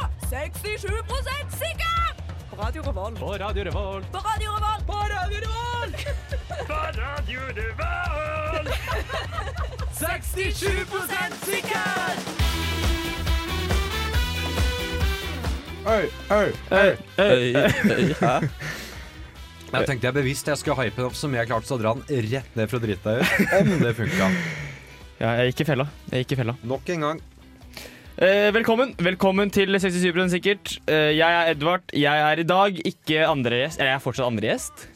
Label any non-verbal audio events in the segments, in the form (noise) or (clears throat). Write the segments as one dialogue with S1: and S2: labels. S1: 67 sikker! På Radio Revolt.
S2: På Radio Revolt.
S1: På Radio Revolt. På Radio Revolt!
S2: 67
S1: sikker!
S3: Øy, øy, øy.
S2: Jeg tenkte jeg bevisst jeg skulle hype den opp så mye jeg klarte, så dra den rett ned for å drite deg
S4: (laughs)
S2: ut. Om det funka.
S4: Ja, jeg gikk i fella. Jeg gikk i fella.
S2: Nok en gang.
S4: Eh, velkommen. Velkommen til 67 sikkert. Eh, jeg er Edvard. Jeg er i dag ikke andre gjest. Eller jeg er fortsatt andre gjest.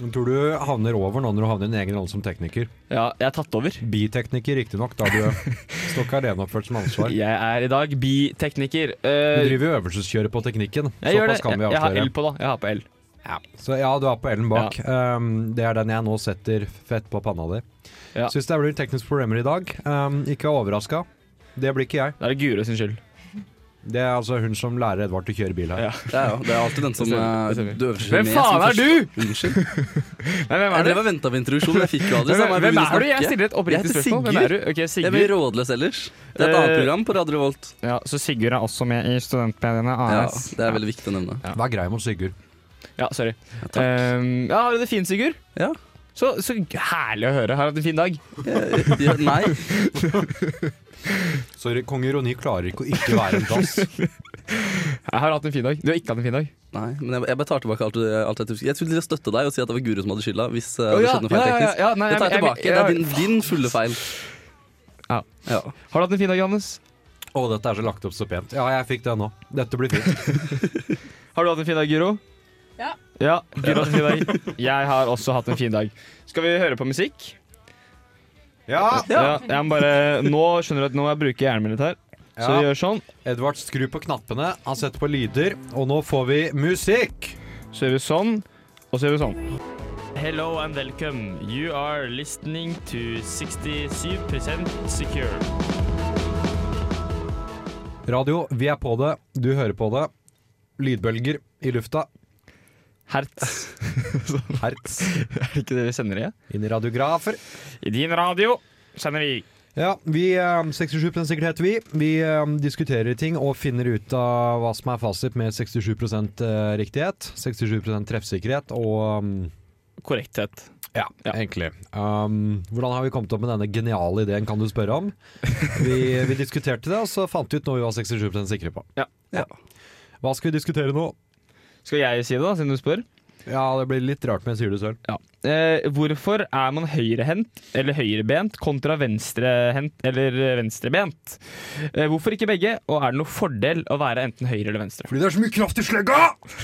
S2: Tror du havner over nå når du havner i din egen rolle som tekniker?
S4: Ja, jeg er tatt over.
S2: Bitekniker, riktignok, da
S4: (laughs)
S2: du står ikke aleneoppført som ansvar.
S4: Jeg er i dag bitekniker.
S2: Du
S4: Eh,
S2: driver jo øvelseskjøret på teknikken.
S4: jeg gjør det.
S2: Såpass kan vi
S4: Jeg, jeg har
S2: avsløre.
S4: L på, da. Jeg har på L.
S2: Ja. Så ja, du er på L-en bak. Um, det er den jeg nå setter fett på panna di.
S4: Ja.
S2: Syns det blir tekniske problemer i dag. Um, ikke overraska. Det blir ikke jeg.
S4: Da er det Guro sin skyld.
S2: Det er altså hun som lærer Edvard å kjøre bil her.
S4: Ja.
S3: Det er jo det er alltid den som
S4: Det
S3: eh,
S4: stemmer, det stemmer.
S3: døver seg
S4: Hvem
S3: med.
S4: faen er du?!
S3: Unnskyld.
S4: Nei, hvem
S3: Jeg
S4: er du?
S3: drev og venta på introduksjon, men jeg fikk jo aldri.
S4: Hvem,
S3: så jeg bare
S4: hvem
S3: begynner å
S4: er du? Jeg
S3: snakke.
S4: stiller et
S3: Jeg
S4: oppriktig
S3: heter
S4: spørsmål. Hvem
S3: Sigurd.
S4: er du? Ok,
S3: Jeg blir
S4: Sigurd.
S3: rådløs ellers. Det er et
S4: Eh,
S3: annet program på Radio Revolt.
S4: Ja, så Sigurd er også med i Studentmediene
S3: Ja,
S4: AS.
S3: det er veldig viktig å nevne.
S2: Vær grei mot Sigurd.
S4: Ja, sorry.
S3: takk.
S4: Ehm, ja, har du det fint, Sigurd?
S3: Ja.
S4: Så, så herlig å høre. Har du hatt en fin dag?
S3: Eh, ja, Nei.
S2: Sorry, kong Ironi klarer ikke å ikke være en dass.
S4: Jeg har hatt en fin dag. Du har ikke hatt en fin dag.
S3: Nei, men jeg, jeg bare tar tilbake alt, du- alt jeg Jeg skulle til å støtte deg og si at det var Guro som hadde skylda. Hvis eh,
S4: Å,
S3: det
S4: ja,
S3: skjedde noe feil
S4: ja, ja,
S3: teknisk.
S4: ja, nei,
S3: det tar jeg
S4: jeg-
S3: tilbake.
S4: jeg-
S3: Det er din, din fulle feil.
S4: Ja.
S3: Ja.
S4: Har du hatt en fin dag, Johannes?
S2: Å, dette er så lagt opp så pent. Ja, jeg fikk det nå. Dette blir fint.
S4: Har du hatt en fin dag, Guro?
S1: Ja.
S4: Ja, Guro har hatt en fin dag. Jeg har også hatt en fin dag. Skal vi høre på musikk?
S2: Ja!
S4: Ja, jeg må bare, nå skjønner du at nå må jeg bruke hjernen min litt her. Så vi
S2: ja.
S4: gjør sånn.
S2: Edvard skrur på knappene, han setter på lyder, og nå får vi musikk!
S4: Så gjør vi sånn, og så gjør vi sånn. Hello and welcome. You are listening to 67% secure.
S2: Radio, vi er på det. Du hører på det. Lydbølger i lufta.
S4: Hertz.
S2: Hertz.
S4: (laughs) Er det ikke det vi sender i?
S2: Inn i radiografer.
S4: I din radio sender vi
S2: Ja, vi eh, 67 sikkert heter vi. Vi eh, diskuterer ting og finner ut av hva som er fasit med 67 eh, riktighet, 67 treffsikkerhet og um,
S4: korrekthet.
S2: ja,
S4: Ja.
S2: egentlig. Um, hvordan har vi kommet opp med denne geniale ideen, kan du spørre om? Vi, vi diskuterte det, og så fant vi ut noe vi var 67 sikre på.
S4: Ja.
S3: Ja.
S2: Hva skal vi diskutere nå?
S4: Skal jeg si det, da, siden du spør?
S2: Ja, det blir litt rart, men jeg sier det selv.
S4: Ja. Eh, hvorfor er man høyrehendt eller høyrebent kontra venstrehendt eller venstrebent? Eh, hvorfor ikke begge, og er det noen fordel å være enten høyre eller venstre?
S2: Fordi det er så mye kraft i slegga!
S4: (laughs)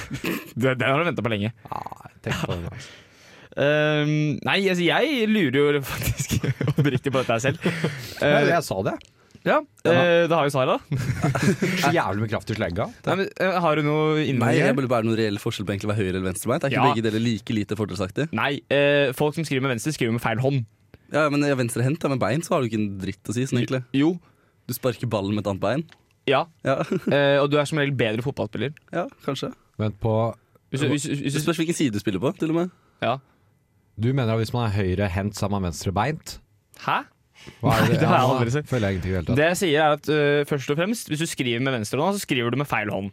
S4: Det, det har du venta på lenge.
S2: Ah, tenk på (laughs) det. nå.
S4: Eh, nei, altså jeg lurer jo faktisk (laughs) oppriktig på dette her selv.
S2: Nei,
S4: Eh,
S2: jeg sa det.
S4: ja, eh, Da har jo Sara.
S2: Så jævlig mye kraft i slegga.
S4: Nei, men, eh, har du noe
S3: Nei,
S4: innvendinger?
S3: jeg burde bare noen reell forskjell på egentlig å være høyre- eller venstrebeint. Er ikke
S4: Ja.
S3: begge deler like lite fordelsaktig?
S4: Nei, eh, folk som skriver med venstre, skriver med feil hånd.
S3: Ja, men er venstrehendt, ja, med bein så har du ikke en dritt å si, sånn egentlig.
S4: Jo.
S3: Du sparker ballen med et annet bein.
S4: Ja.
S3: Ja, (laughs)
S4: Eh, og du er som regel bedre fotballspiller.
S3: ja kanskje.
S2: Vent på
S4: Hvis, du- hvis, du- hvis, du-
S3: Det spørs hvilken side du spiller på, til og med.
S4: ja.
S2: Du mener at hvis man er høyrehendt, så er man venstrebeint?
S4: Hæ?
S2: Hva er
S4: Nei, det har jeg
S2: Ja,
S4: aldri sett.
S2: Føler jeg ingenting i det hele tatt.
S4: Det jeg sier er at øh, først og fremst, hvis du skriver med venstrehånda, så skriver du med feil hånd.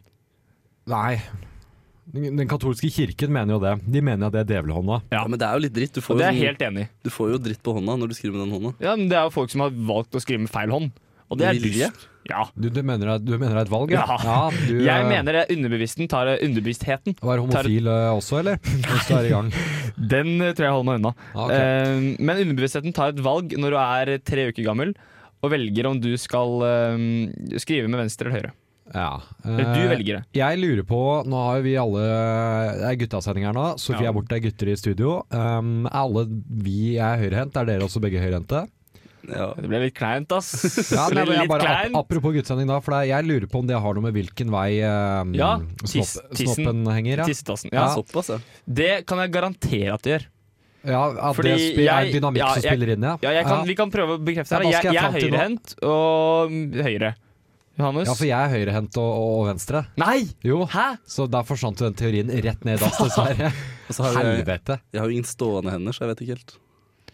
S2: Nei. Den den katolske kirken mener jo det. De mener at det er djevelhånda.
S4: Ja.
S3: Ja, Men det er jo litt dritt. Du
S4: Og
S3: får,
S4: det
S3: jo,
S4: er jeg
S3: sånn-
S4: helt enig i.
S3: du får jo dritt på hånda når du skriver med den hånda.
S4: Ja, men det er jo folk som har valgt å skrive med feil hånd. Og det er
S3: Med vilje?
S4: dust. Ja.
S2: Du, du, mener at- du mener det er et valg, ja?
S4: Ja.
S2: du,
S4: Jeg
S2: eh,
S4: mener det underbevisstheten tar eh, underbevisstheten.
S2: Var homofil eh, også,
S4: (laughs)
S2: eller? Hvis du er i gang.
S4: Den eh, tror jeg holder meg unna.
S2: Ja, ok.
S4: Eh, men underbevisstheten tar et valg når du er tre uker gammel og velger om du skal eh, skrive med venstre eller høyre.
S2: Ja.
S4: Eller du
S2: Eh,
S4: velger det.
S2: Jeg lurer på, nå har jo vi alle Det er guttasending her nå. Sofie
S4: Ja.
S2: er borte, det er gutter i studio. Um, er alle vi er høyrehendt? Er dere også begge høyrehendte?
S3: Ja.
S4: Det ble litt kleint, ass.
S2: Ja,
S4: det
S2: nei,
S4: ble
S2: men jeg
S4: litt
S2: bare, ap-
S4: kleint.
S2: apropos guttsending, da. For det er- jeg lurer på om det har noe med hvilken vei um,
S4: Ja, tiss-
S2: snopp,
S4: tissen.
S2: snoppen henger. Ja.
S4: Tissetassen. Ja.
S2: Ja.
S3: Såpass, ja.
S4: Det kan jeg garantere at det gjør.
S2: Ja, at
S4: Fordi
S2: det spi- er
S4: jeg-
S2: en dynamikk
S4: ja,
S2: som
S4: jeg-
S2: spiller inn, ja.
S4: Ja, jeg kan, Vi kan prøve å bekrefte
S2: Ja,
S4: det.
S2: hva
S4: Jeg,
S2: skal jeg
S4: jeg er
S2: fram til nå?
S4: høyrehendt og mm, høyre. Johannes?
S2: Ja, for jeg er høyrehendt og, og, og venstre.
S4: Nei!
S2: Jo,
S4: Hæ?
S2: så der forsvant jo den teorien rett ned i
S4: (laughs)
S2: dass, dessverre.
S3: Og så har jeg,
S2: Helvete.
S3: jeg har jo ingen stående hender, så jeg vet ikke helt.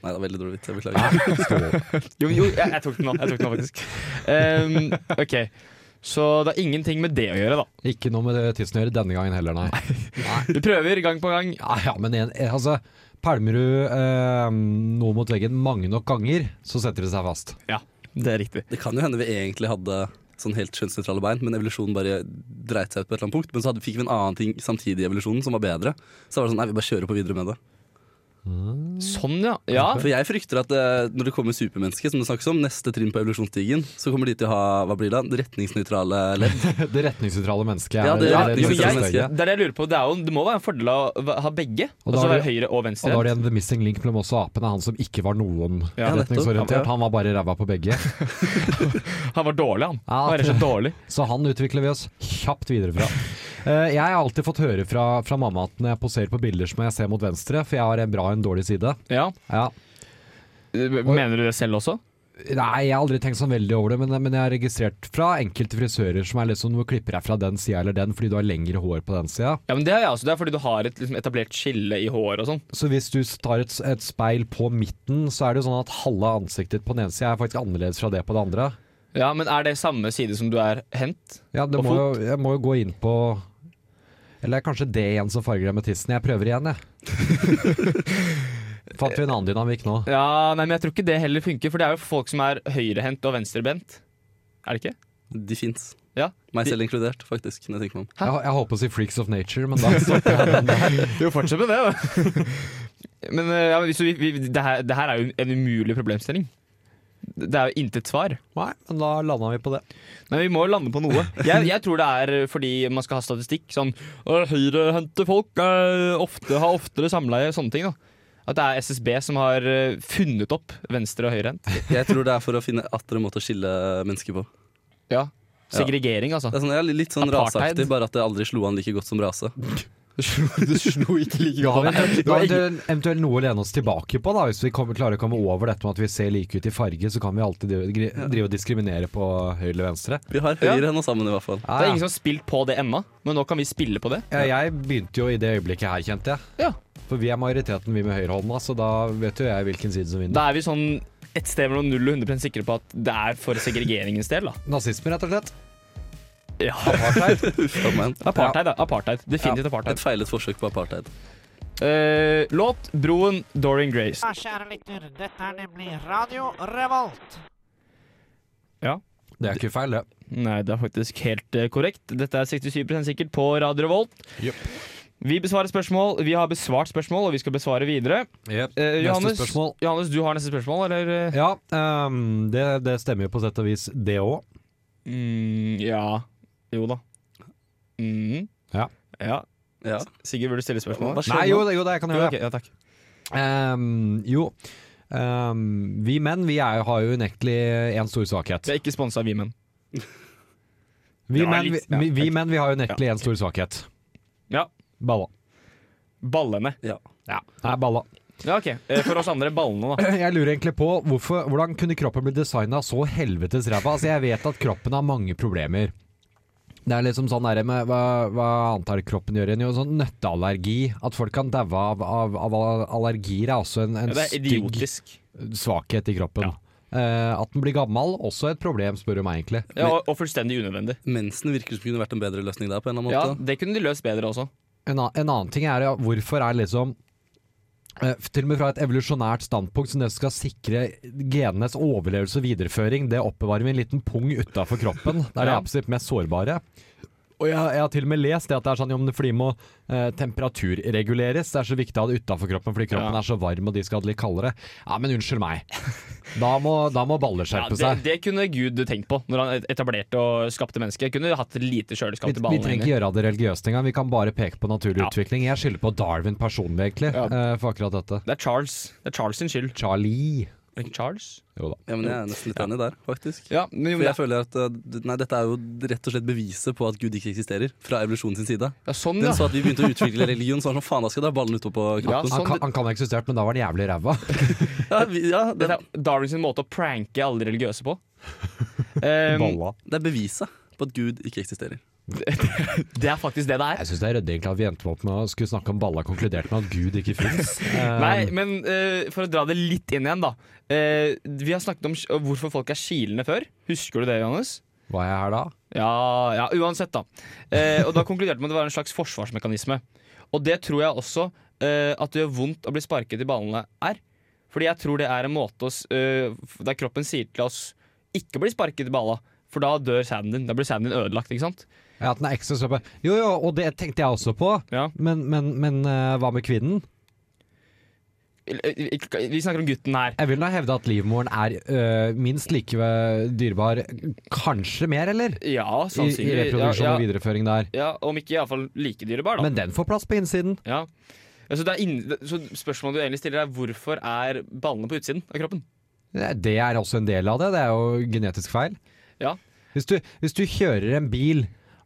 S3: Nei, det er veldig dårlig vits. Jeg
S4: (laughs)
S3: beklager.
S4: Jo, jo jeg, jeg tok den nå. Jeg tok den nå faktisk. Ehm, ok. Så det har ingenting med det å gjøre, da.
S2: Ikke noe med det tidsen å gjøre denne gangen heller, nei.
S4: Vi prøver gang på gang.
S2: Ja, ja, men en, altså, pælmer du eh, noe mot veggen mange nok ganger, så setter det seg
S3: (laughs)
S2: fast.
S4: Ja, det er riktig.
S3: Det kan jo hende vi egentlig hadde sånn helt kjønnsnøytrale bein, men evolusjonen bare dreit seg ut på et eller annet punkt. Men så hadde, fikk vi en annen ting samtidig i evolusjonen som var bedre. Så var det sånn, nei, vi bare kjører på videre med det.
S4: Sånn, ja. ja.
S3: For jeg frykter at eh, når det kommer supermennesker, som det snakkes om, neste trinn på evolusjonsstigen, så kommer de til å ha, hva blir det, retningsnøytrale ledd.
S2: Det retningssentrale mennesket er
S3: Ja, det-
S4: Ja,
S2: er
S4: jo,
S3: det
S2: neste
S3: er
S4: jeg,
S3: det
S2: steget.
S4: det er det jeg lurer på. Det, er jo, det må være en fordel å va- ha begge.
S2: Og da
S4: Altså
S2: har
S4: være
S2: de-
S4: høyre og
S2: Og
S4: venstre.
S2: da er det en missing link mellom oss og apen, er han som ikke var noen
S4: Ja,
S3: nettopp.
S2: retningsorientert.
S3: Ja.
S2: Han var bare ræva på
S3: (laughs)
S2: begge.
S4: Han var dårlig, han.
S2: Ja,
S4: Han var rett og slett dårlig.
S2: Så han utvikler vi oss kjapt videre fra. Eh, jeg har alltid fått høre fra, fra mamma at når jeg poserer på bilder som jeg ser mot venstre, for jeg har en bra og en dårlig side.
S4: Ja.
S2: Ja.
S4: Mener du det selv også?
S2: Nei, jeg har aldri tenkt sånn veldig over det, men, men jeg har registrert fra enkelte frisører som er liksom, du klipper deg fra den sida eller den fordi du har lengre hår på den sida.
S4: Ja, men Det er jeg også. Det er fordi du har et liksom, etablert skille i håret og sånn.
S2: Så hvis du tar et, et speil på midten, så er det jo sånn at halve ansiktet på den ene sida er faktisk annerledes fra det på det andre.
S4: Ja, men er det samme side som du er hent?
S2: Ja, det
S4: Og
S2: må jo, jeg må jo gå inn på Eller det er kanskje det igjen som farger deg med tissen. Jeg prøver igjen, jeg. (laughs) Fant vi en annen dynamikk nå?
S4: Ja, nei, men jeg tror ikke det heller funker, for det er jo folk som er høyrehendt og venstrebent. Er det ikke?
S3: De fins.
S4: Ja.
S3: Meg selv inkludert, faktisk. når jeg tenker meg om.
S4: Hæ?
S2: Jeg, jeg håper å si Freaks of Nature, men da stopper jeg.
S4: Jo, fortsett med det, da. (laughs) men eh, ja, men så vi, vi, det, her, det her er jo en umulig problemstilling. Det er jo intet svar.
S2: Nei, men da landa vi på det.
S4: Men vi må jo lande på noe. Jeg, jeg tror det er fordi man skal ha statistikk. Sånn «Å, Høyrehendte folk er ofte, har oftere samleie, sånne ting. da At det er SSB som har eh, funnet opp venstre- og høyrehendt.
S3: Jeg tror det er for å finne atter en måte å skille mennesker på.
S4: Ja. Segregering, altså.
S3: Det er sånn, ja, litt sånn
S4: Apartheid.
S3: raseaktig, bare at det aldri slo an like godt som rase.
S4: Du slo, (laughs) du slo ikke like
S2: Da har vi
S4: godt.
S2: eventuelt- eventuelt, eventuelt noe å lene oss tilbake på, da. Hvis vi kommer, klarer å komme over dette med at vi ser like ut i farge, så kan vi alltid drive- gri- drive og diskriminere på høyre eller venstre.
S3: Vi har høyre henne sammen, i hvert fall.
S4: Det er ingen som har spilt på det ennå, men nå kan vi spille på det.
S2: Ja, jeg begynte jo i det øyeblikket her, kjente jeg.
S4: Ja.
S2: For vi er majoriteten, vi med høyrehånda, så da vet jo jeg hvilken side som vinner.
S4: Da er vi sånn et sted mellom 0 og 100 sikre på at det er for segregeringens del. da
S2: Nazisme, rett og slett.
S4: Ja,
S2: Apartheid.
S3: (laughs) Uff da, man.
S4: Apartheid. da, apartheid Definitivt apartheid.
S3: Et feilet forsøk på apartheid.
S4: Eh, låt 'Broen', Dorian Grace.
S5: Ja, kjære lytter, dette er nemlig Radio Revolt.
S2: (laughs) Det er ikke feil, det.
S4: Nei, det er faktisk helt eh, korrekt. Dette er 67 sikkert på Radio Revolt.
S2: Jep.
S4: Vi besvarer spørsmål, vi har besvart spørsmål, og vi skal besvare videre. Eh,
S2: Neste
S4: Johannes,
S2: spørsmål.
S4: Johannes, du har neste spørsmål, eller? eh?
S2: Ja, ehm, det, det stemmer jo på sett og vis, det òg.
S4: Mm, ja. Jo da. Mm.
S2: Ja.
S4: ja.
S3: Ja.
S4: Sigurd, vil du stille spørsmål?
S3: Hva skjer
S2: Nei,
S3: nå?
S2: jo, det- jo, det jeg kan
S4: Jo,
S2: gjøre.
S4: ok, ja, takk.
S2: Ehm, jo. Ehm, vi menn vi er, har jo unektelig en stor svakhet.
S4: Vi er ikke sponsa, vi menn.
S2: Vi
S4: Det var
S2: menn, vi,
S4: litt- ja,
S2: vi, vi menn vi har jo unektelig en stor svakhet.
S4: Ja.
S2: Balla.
S4: Ballene.
S3: Ja.
S2: Nei, balla. (clears throat)
S4: Ja, ok. Eh, For oss andre, ballene, da.
S2: Jeg lurer egentlig på hvorfor, hvordan kunne kroppen bli designa så helvetes ræva? Altså, jeg vet at kroppen har mange problemer. Det er liksom sånn der med hva, hva annet er det kroppen gjør igjen? Jo, sånn nøtteallergi. At folk kan daue av, av, av allergier, er også en, (laughs) en
S4: Ja, det er
S2: stygg
S4: idiotisk.
S2: svakhet i kroppen.
S4: Ja.
S2: Eh, at den blir gammel, også et problem, spør du meg egentlig.
S4: Ja, og, og fullstendig unødvendig.
S3: Mensen virker som kunne vært en bedre løsning der. på en eller
S4: Ja,
S3: annen måte
S4: Det kunne de løst bedre også.
S2: En, an- en annen ting er ja, hvorfor er liksom eh, Til og med fra et evolusjonært standpunkt som det skal sikre genenes overlevelse og videreføring, det oppbevarer vi en liten pung utafor kroppen. Det er det
S4: Ja.
S2: absolutt mest sårbare. Og jeg, jeg har til og med lest det at det er sånn jo, men det fordi må eh, temperaturreguleres. Det er så viktig å ha det utafor kroppen fordi kroppen
S4: Ja.
S2: er så varm og de skal ha det litt kaldere. Ja, men unnskyld meg. Da må, da må baller
S4: Ja,
S2: skjerpe
S4: det,
S2: seg.
S4: det kunne Gud tenkt på når han etablerte og skapte mennesket. Kunne hatt lite
S2: Vi,
S4: kjøleskap til
S2: vi
S4: ballene.
S2: trenger ikke
S4: egentlig.
S2: gjøre av det religiøst engang. Vi kan bare peke på naturlig
S4: Ja.
S2: utvikling. Jeg skylder på Darwin personlig, egentlig,
S4: Ja.
S2: eh, for akkurat dette.
S4: Det er Charles Det er Charles sin skyld.
S2: Charlie.
S4: Charles?
S2: Jo da.
S3: Ja, men Jeg er nesten litt enig der, faktisk.
S4: Ja, men, jo,
S3: For
S4: men,
S3: jeg føler at eh, nei, Dette er jo rett og slett beviset på at Gud ikke eksisterer, fra evolusjonens side.
S4: ja, sånn,
S3: Den
S4: ja.
S3: sa at vi begynte å utvikle religion, så var det sånn faen, da skal det ha ballen utpå på
S4: Ja,
S3: kroppen.
S2: Han
S4: sånn,
S2: kan, han kan ha eksistert, men da var han jævlig ræva.
S3: Ja, vi,
S4: (laughs)
S3: ja, det,
S4: Dette er Darwin sin måte å pranke alle de religiøse på. Um,
S3: det er beviset på at Gud ikke eksisterer.
S4: det er faktisk det det er.
S2: Jeg syns det er ryddig egentlig at vi endte opp med å skulle snakke om balla, konkludert med at Gud ikke fins.
S4: (laughs) Nei,
S2: Um,
S4: men eh, for å dra det litt inn igjen, da. Eh, vi har snakket om sk- hvorfor folk er kilende før. Husker du det, Johannes?
S2: Var jeg her da?
S4: Ja, ja uansett, da. Eh, og da konkluderte man at det var en slags forsvarsmekanisme. Og det tror jeg også eh, at det gjør vondt å bli sparket i ballene er. Fordi jeg tror det er en måte oss, eh, der kroppen sier til oss ikke bli sparket i balla, for da dør sæden din. Da blir sæden din ødelagt, ikke sant?
S2: Ja, at den er ekstra søt. Jo, jo, og det tenkte jeg også på.
S4: Ja.
S2: Men, men, men eh, hva med kvinnen?
S4: eh, Vi snakker om gutten her.
S2: Jeg vil da hevde at livmoren er eh, minst like ved- dyrebar, kanskje mer, eller?
S4: Ja,
S2: I, i
S4: sannsynligvis. Ja,
S2: reproduksjon
S4: ja,
S2: og videreføring der.
S4: ja, om ikke iallfall like dyrebar, da.
S2: Men den får plass på innsiden.
S4: ja. Altså, det er inn- så spørsmålet du egentlig stiller, er hvorfor er ballene på utsiden av kroppen?
S2: Det er også en del av det. Det er jo genetisk feil.
S4: Ja.
S2: Hvis du, hvis du kjører en bil,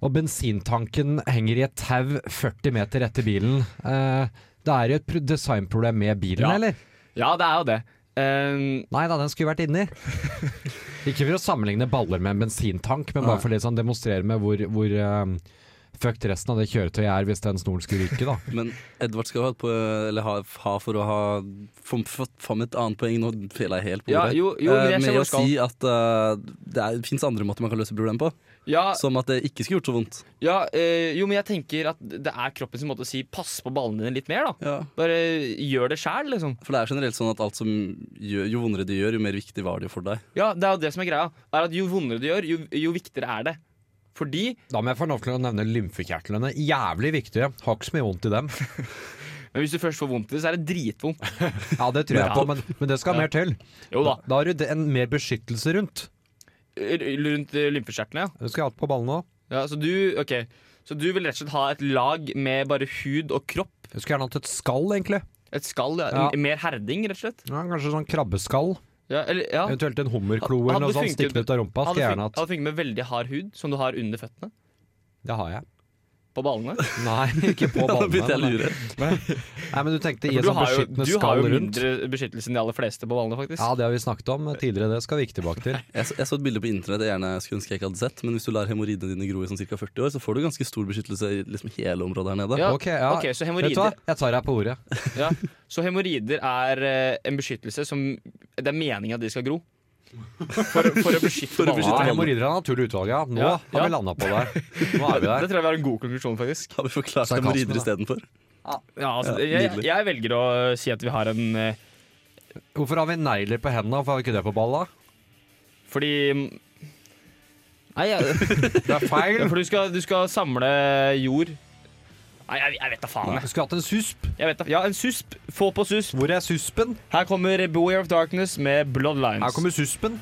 S2: og bensintanken henger i et tau 40 meter etter bilen, eh, da er det jo et pro- designproblem med bilen,
S4: Ja.
S2: eller?
S4: Ja, det er jo det. Eh,
S2: Nei da, den skulle vært (laughs) inni. Ikke for å sammenligne baller med en bensintank, men bare
S3: Nei.
S2: for det som demonstrerer med hvor, hvor eh, fucked resten av det kjøretøyet er hvis den snoren skulle ryke, da.
S3: Men Edvard skal ha, et po- eller ha, ha for å ha fått fram et annet poeng. Nå fela jeg helt på
S4: Ja,
S3: ordet.
S4: jo- jo, men jeg
S3: Eh,
S4: ser
S3: med
S4: hvor
S3: å
S4: du skal.
S3: si at eh, det fins andre måter man kan løse problemet på.
S4: ja,
S3: Som at det ikke skulle gjort så vondt.
S4: ja eh, jo, men jeg tenker at det er kroppen sin måte å si 'pass på ballene dine litt mer', da. Bare gjør det sjæl, liksom.
S3: For det er generelt sånn at alt som gjør, jo vondere du gjør, jo mer viktig var det jo for deg.
S4: Ja, det er jo det som er greia. Er at Jo vondere du gjør, jo, jo viktigere er det. Fordi
S2: (laughs) Da må jeg få lov til å nevne lymfekjertlene. Jævlig viktige. Har ikke så mye vondt i dem.
S4: Men hvis du først får vondt i det, så er det dritvondt.
S2: (laughs) Ja, det tror jeg
S4: Ja.
S2: på, men, men det skal
S4: Ja.
S2: mer til.
S4: (laughs) Jo da.
S2: Da har du det- en mer beskyttelse rundt.
S4: R- Rundt eh, lymfekjertlene, ja.
S2: Du skal ha alt på ballene òg.
S4: ja. Så du ok Så du vil rett og slett ha et lag med bare hud og kropp?
S2: Du skulle gjerne hatt et skall, egentlig.
S4: Et skall? Ja.
S2: Ja.
S4: M- Mer herding, rett og slett?
S2: Ja, kanskje sånn krabbeskall.
S4: Ja, eller, ja. Hadde
S2: Eventuelt en hummerklo
S4: Hadde
S2: eller noe
S4: det
S2: sånt
S4: funket-
S2: stikket ut av rumpa. Skal jeg
S4: fun-
S2: gjerne hatt.
S4: hadde funket med veldig hard hud, som du har under føttene.
S2: Det har jeg.
S4: På ballene. (laughs)
S2: Nei, ikke
S3: (laughs)
S2: på
S3: Da begynte jeg å
S2: ballene.
S3: lure.
S2: Nei, men du tenkte i
S4: For
S2: et
S4: du
S2: sånt
S4: har jo,
S2: sånn beskyttende
S4: du har
S2: skall
S4: jo
S2: rundt.
S4: mindre beskyttelse enn de aller fleste på ballene, faktisk.
S2: Ja, det har vi snakket om eh, tidligere. Det skal vi ikke tilbake til.
S3: Jeg, så- jeg så et bilde på internett jeg gjerne skulle ønske jeg ikke hadde sett. Men hvis du lar hemoroidene dine gro i sånn ca. 40 år, så får du ganske stor beskyttelse i liksom hele området her nede.
S4: Ja,
S2: Ok, ja.
S4: ok, så
S2: Vet du hva?
S4: hemoroider
S2: Jeg tar deg på ordet.
S4: ja. Så hemoroider er eh, en beskyttelse som Det er meninga at de skal gro. For, for å beskytte
S3: For å
S2: Ja,
S3: beskytte
S4: ballene.
S3: ballene.
S2: Hemoroider er naturlig utvalg, ja. Nå
S4: Ja,
S2: har
S4: ja.
S2: vi landa på det. Nå er vi
S4: Det (laughs)
S2: der.
S4: tror jeg var en god konklusjon, faktisk.
S3: Har vi forklart
S2: Sarkasme,
S3: hemoroider
S2: da.
S3: istedenfor?
S4: Ja, altså,
S3: Ja,
S4: jeg,
S3: nydelig.
S4: jeg velger å si at vi har en eh,
S2: Hvorfor har vi negler på hendene? Hvorfor har vi ikke det på balla?
S4: Fordi Nei, jeg, (laughs)
S2: Det er feil.
S4: for du skal, du skal samle jord Nei, jeg, jeg vet da faen.
S2: Du
S4: Jeg.
S2: skulle hatt en susp.
S4: Jeg vet da, ja, en susp. Få på susp.
S2: Hvor er suspen?
S4: Her kommer Beware of Darkness med Bloodlines.
S2: Her kommer suspen.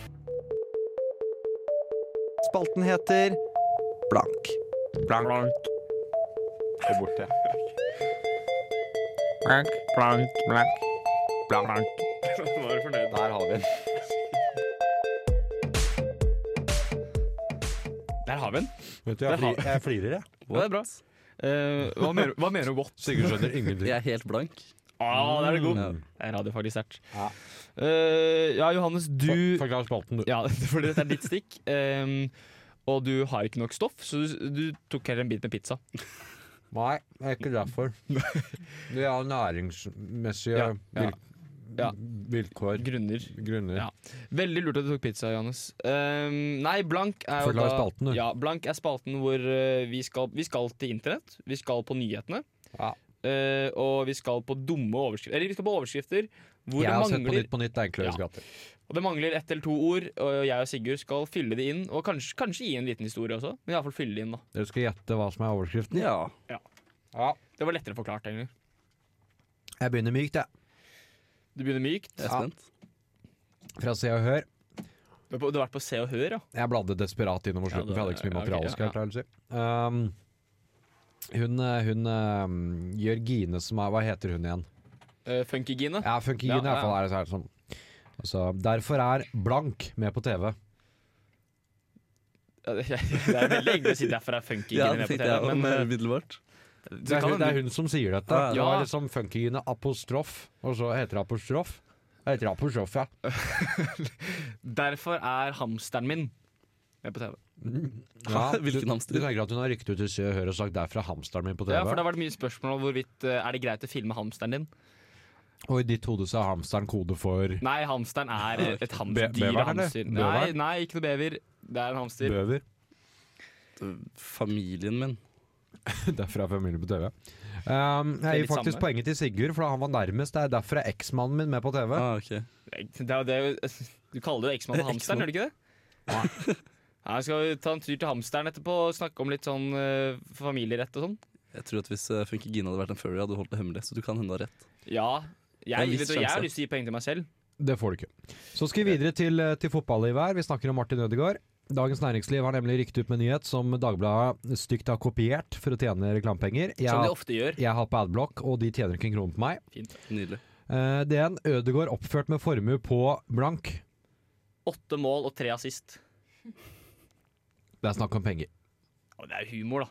S2: Spalten heter Blank.
S4: Blank. Se bort til. Blank, blank, blank. Blank. Nå er du fornøyd.
S2: Der har vi den.
S4: Der har vi den.
S2: Vet du, jeg,
S4: flir-
S2: flirer, jeg.
S4: Det er bra. Eh, hva, mener, hva mener du godt?
S2: Sigurd skjønner ingenting.
S3: Jeg er helt blank.
S4: (laughs) Ah, der er det god.
S3: Ja.
S4: Det er radiofaglig sterkt.
S2: Ja.
S4: Eh, ja, Johannes, du
S2: Forklar spalten, du.
S4: Ja, (laughs) fordi dette er ditt stikk. eh, og du har ikke nok stoff, så du, du tok heller en bit med pizza.
S2: Nei, det er ikke derfor. (laughs) Det er næringsmessige
S4: Ja, ja.
S2: vil-
S4: Ja.
S2: vilkår.
S4: Grunner.
S2: Grunner.
S4: Ja. Veldig lurt at du tok pizza, Johannes. Ehm, nei, blank er jo
S2: Forklar
S4: da
S2: spalten, du.
S4: Ja, blank er spalten hvor eh, vi, skal, vi skal til internett. Vi skal på nyhetene.
S2: Ja.
S4: Eh, og vi skal på dumme overskrifter. Eller vi skal på overskrifter hvor
S2: Jeg
S4: det
S2: har sett på
S4: mangler,
S2: Nytt på Nytt. Det er en
S4: Ja.
S2: kløysgate.
S4: og det mangler ett eller to ord. Og jeg og Sigurd skal fylle det inn, og kanskje, kanskje gi en liten historie også. Men i alle fall fylle det inn da
S2: Dere skal gjette hva som er overskriften?
S3: Ja.
S2: Ja.
S4: Det var lettere forklart, egentlig.
S2: Jeg begynner mykt, jeg.
S4: Du begynner mykt.
S3: Jeg er
S2: Ja.
S3: spent.
S2: Fra Se og Hør.
S4: Du har på- du har vært på Se og Hør, ja.
S2: Jeg bladde desperat innover
S4: Ja,
S2: slutten,
S4: det-
S2: for jeg hadde ikke så mye
S4: ja, ok,
S2: materiale. skal jeg klare å si. Um, hun eh, hun eh, Jørgine som er Hva heter hun igjen?
S4: Eh, Funkygine.
S2: Ja, Funkygine
S4: Ja, ja,
S2: i hvert fall. er det så her som altså, Derfor er Blank med på TV.
S4: Ja, (laughs) Det det er veldig hyggelig å si derfor er Funkygine
S3: Ja,
S4: med
S3: det
S4: på
S3: tenkte
S4: TV.
S3: jeg også,
S4: Men
S3: mer
S4: eh,
S3: umiddelbart.
S2: Det er, hun, det er hun som sier dette.
S3: Ja.
S2: Det var liksom Funkygine apostrof, og så heter det apostrof. Det heter apostrof, ja.
S4: Derfor er hamsteren min med på TV.
S2: ja
S3: (laughs) Hvilken
S2: du-
S3: hamster?
S2: Du tenker at hun har rykket ut til Se og Hør og sagt 'der fra hamsteren min' på TV?
S4: Ja, for det har vært mye spørsmål om hvorvidt eh, er det greit å filme hamsteren din.
S2: Og i ditt hode så er hamsteren kode for
S4: Nei, hamsteren er et hamster,
S2: Be-
S4: dyr
S2: beveren,
S4: hamster.
S2: eller?
S4: Nei,
S2: Beveren?
S4: nei, ikke noe bever. Det er en hamster.
S2: bøver? (laughs)
S3: øh, familien min.
S2: Derfor er familien på TV. Um,
S4: er
S2: jeg
S4: litt
S2: gir faktisk
S4: samme.
S2: poenget til Sigurd, for han var nærmest. Det er derfor er eksmannen min med på TV.
S3: Ah, ok.
S4: Det er, jo- det er, jo- du kaller det eksmann og hamsteren, gjør du ikke det? Nei, Skal vi ta en tur til hamsteren etterpå og snakke om litt sånn eh, familierett og sånn?
S3: Jeg tror at Hvis øh, Funky Gine hadde vært en furry, hadde du holdt det hemmelig. Så du kan hende ha rett.
S4: Ja.
S3: Det er en
S4: Jeg,
S3: viss
S4: vet du, jeg har
S3: sjanse.
S4: lyst til å gi poeng til meg selv.
S2: Det får du ikke. Så skal vi videre til, eh, til fotballivet her. Vi snakker om Martin Ødegaard. Dagens Næringsliv har nemlig rykket ut med en nyhet som Dagbladet stygt har kopiert for å tjene reklamepenger. Jeg,
S4: Som de
S2: har-
S4: ofte gjør.
S2: jeg har på Adblock, og de tjener ikke en krone på meg.
S3: Nydelig.
S2: Eh, det er en Ødegaard oppført med formue på blank.
S4: Åtte mål og tre assist.
S2: Det er snakk om penger.
S4: Å, det er jo humor, da.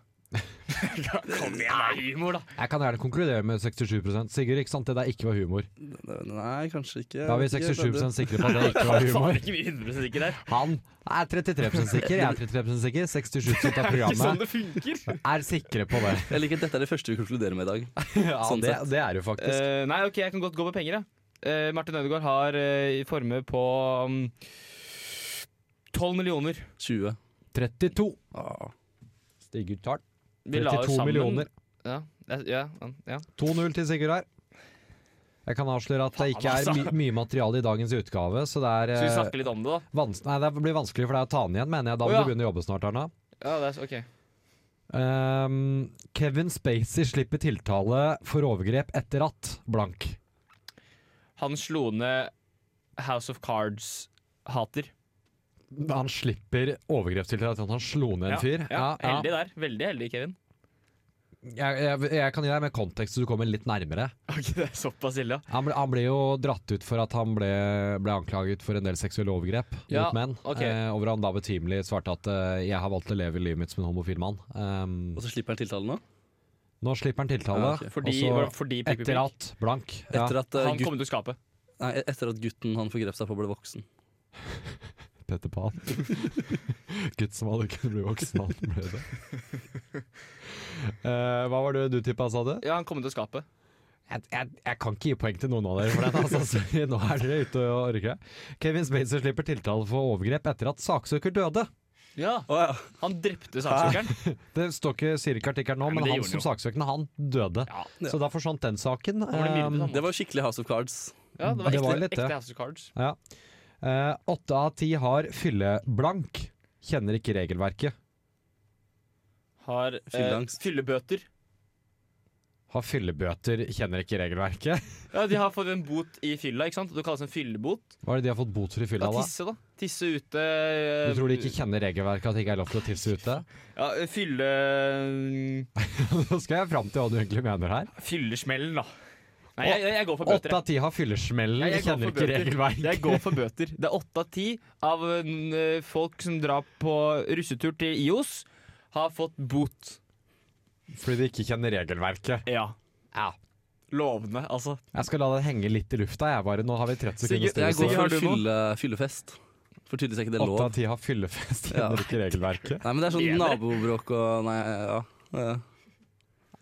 S4: Kom igjen, det er humor, da.
S2: Jeg kan gjerne konkludere med 67 Sigurd, ikke sant? Det der ikke var humor.
S3: Nei, kanskje ikke.
S2: Da er vi
S3: Eh, Jeg vet ikke,
S2: 67 sikre på at det ikke
S4: (laughs)
S2: var
S4: Faen,
S2: humor.
S4: ikke vi 100 sikre der.
S2: Han er 33 sikker, jeg er 33 sikker. 67 av
S4: Ikke sånn
S2: programmet
S4: det funker.
S2: er sikre på
S3: (laughs)
S2: det.
S3: Jeg liker at dette er det første vi konkluderer med i dag.
S2: Ja,
S3: Sånn
S2: det,
S3: sett.
S2: det er jo faktisk.
S4: (laughs) Eh, nei, ok, jeg kan godt gå med penger, jeg. Eh, Martin Ødegaard har eh, i formue på um, 12 millioner.
S3: 20.
S2: 32.
S3: Ah.
S2: Stiger tar.
S4: Vi la jo
S2: 32
S4: sammen-
S2: millioner.
S4: Ja, ja, ja, ja.
S2: 2-0 til Sigurd her. Jeg kan avsløre at det
S4: Faen,
S2: ikke er
S4: altså.
S2: my mye materiale i dagens utgave, så det er
S4: Så vi
S2: eh,
S4: snakker litt om det, da.
S2: vans Nei, det blir vanskelig for deg å ta den igjen, mener jeg. Da må
S4: Å, ja.
S2: du begynne å jobbe snart, Arna.
S4: Ja, det er, så- ok
S2: Ehm, Kevin Spacey slipper tiltale for overgrep etter at blank.
S4: Han slo ned House of Cards-hater.
S2: Han slipper overgrepstiltale etter at han slo ned en fyr.
S4: Ja, Heldig der. Veldig heldig, Kevin.
S2: Jeg, jeg, jeg kan gi deg mer kontekst, så du kommer litt nærmere.
S4: (laughs) Ok, det er såpass ille,
S2: Han ble, han ble jo dratt ut for at han ble, ble anklaget for en del seksuelle overgrep
S4: Ja,
S2: mot menn.
S4: ok.
S2: Eh, over han da betimelig svarte at eh, 'jeg har valgt å leve livet mitt som en homofil mann'. Ehm,
S3: Og så slipper han tiltalen nå?
S2: nå slipper han tiltale.
S3: Ja, ok.
S4: Fordi,
S2: og så
S4: fordi prikk, prikk,
S2: etter eh,
S4: prikk.
S2: at blank. Ja,
S3: Etter at, øh,
S4: Han
S3: gutt-
S4: kommer til å skape.
S3: nei, etter at gutten han forgrep seg på, ble voksen.
S2: Petter (laughs) Pan. Gutt som aldri kunne bli voksen, han ble det. (laughs) Eh, hva var det du tippa, sa du?
S4: Ja, han kommer til å skape.
S2: Jeg, jeg, jeg kan ikke gi poeng til noen av dere for den. Altså, (laughs) sorry, nå er dere ute og orker. Kevin Spacey slipper tiltale for overgrep etter at saksøker døde.
S4: Ja,
S3: Å ja.
S4: Han drepte saksøkeren.
S2: Det står ikke, sier ikke artikkelen nå,
S4: Nei, men
S2: men,
S4: det
S2: han
S4: gjorde
S2: som
S4: han
S2: saksøkende, han døde.
S4: Ja.
S2: Så da forsvant den saken.
S4: ble myrdet,
S2: Um,
S4: han.
S3: Det var jo skikkelig House of Cards.
S4: Ja, det var
S2: Det
S4: ekte,
S2: var litt det.
S4: ekte House of Cards.
S2: ja. Eh, Åtte av ti har fylleblank. Kjenner ikke regelverket.
S4: Har eh,
S3: Fylleangst.
S4: fyllebøter.
S2: Har fyllebøter, kjenner ikke regelverket.
S4: Ja, De har fått en bot i fylla, ikke sant? Det kalles en fyllebot.
S2: Hva er det de har fått bot for i
S4: Ja,
S2: fylla, da?
S4: tisse, da. Tisse ute.
S2: Du tror de ikke kjenner regelverket, at det ikke er lov til å tisse ute?
S4: (laughs)
S2: (laughs)
S4: eh, Ja, fylle... mm,
S2: Nå skal jeg fram til hva du egentlig mener her.
S4: Fyllesmellen, da. Nei, jeg, jeg, jeg går for bøter.
S2: Åtte
S4: jeg.
S2: av ti har fyllesmellen,
S4: Nei, jeg går
S2: kjenner
S4: for
S2: ikke
S4: bøter. Jeg
S2: regelverket.
S4: går for bøter. Det er åtte av ti av eh, folk som drar på russetur til IOS, har fått bot.
S2: Fordi de ikke kjenner regelverket.
S4: Ja.
S2: Ja.
S4: Lovende, altså.
S2: Jeg skal la det henge litt i lufta, jeg bare. Nå har vi 30
S4: Sigurd,
S2: sekunder
S3: Jeg
S2: stillestil.
S4: Sigurd,
S3: går
S4: har
S3: for
S4: du noe?
S3: fylle, fyllefest. For tydeligvis er ikke det lov.
S2: Åtte av ti har fyllefest, kjenner
S3: Ja.
S2: ikke regelverket.
S3: Nei, men det er sånn
S4: Mener.
S3: nabobråk og Nei, ja. eh,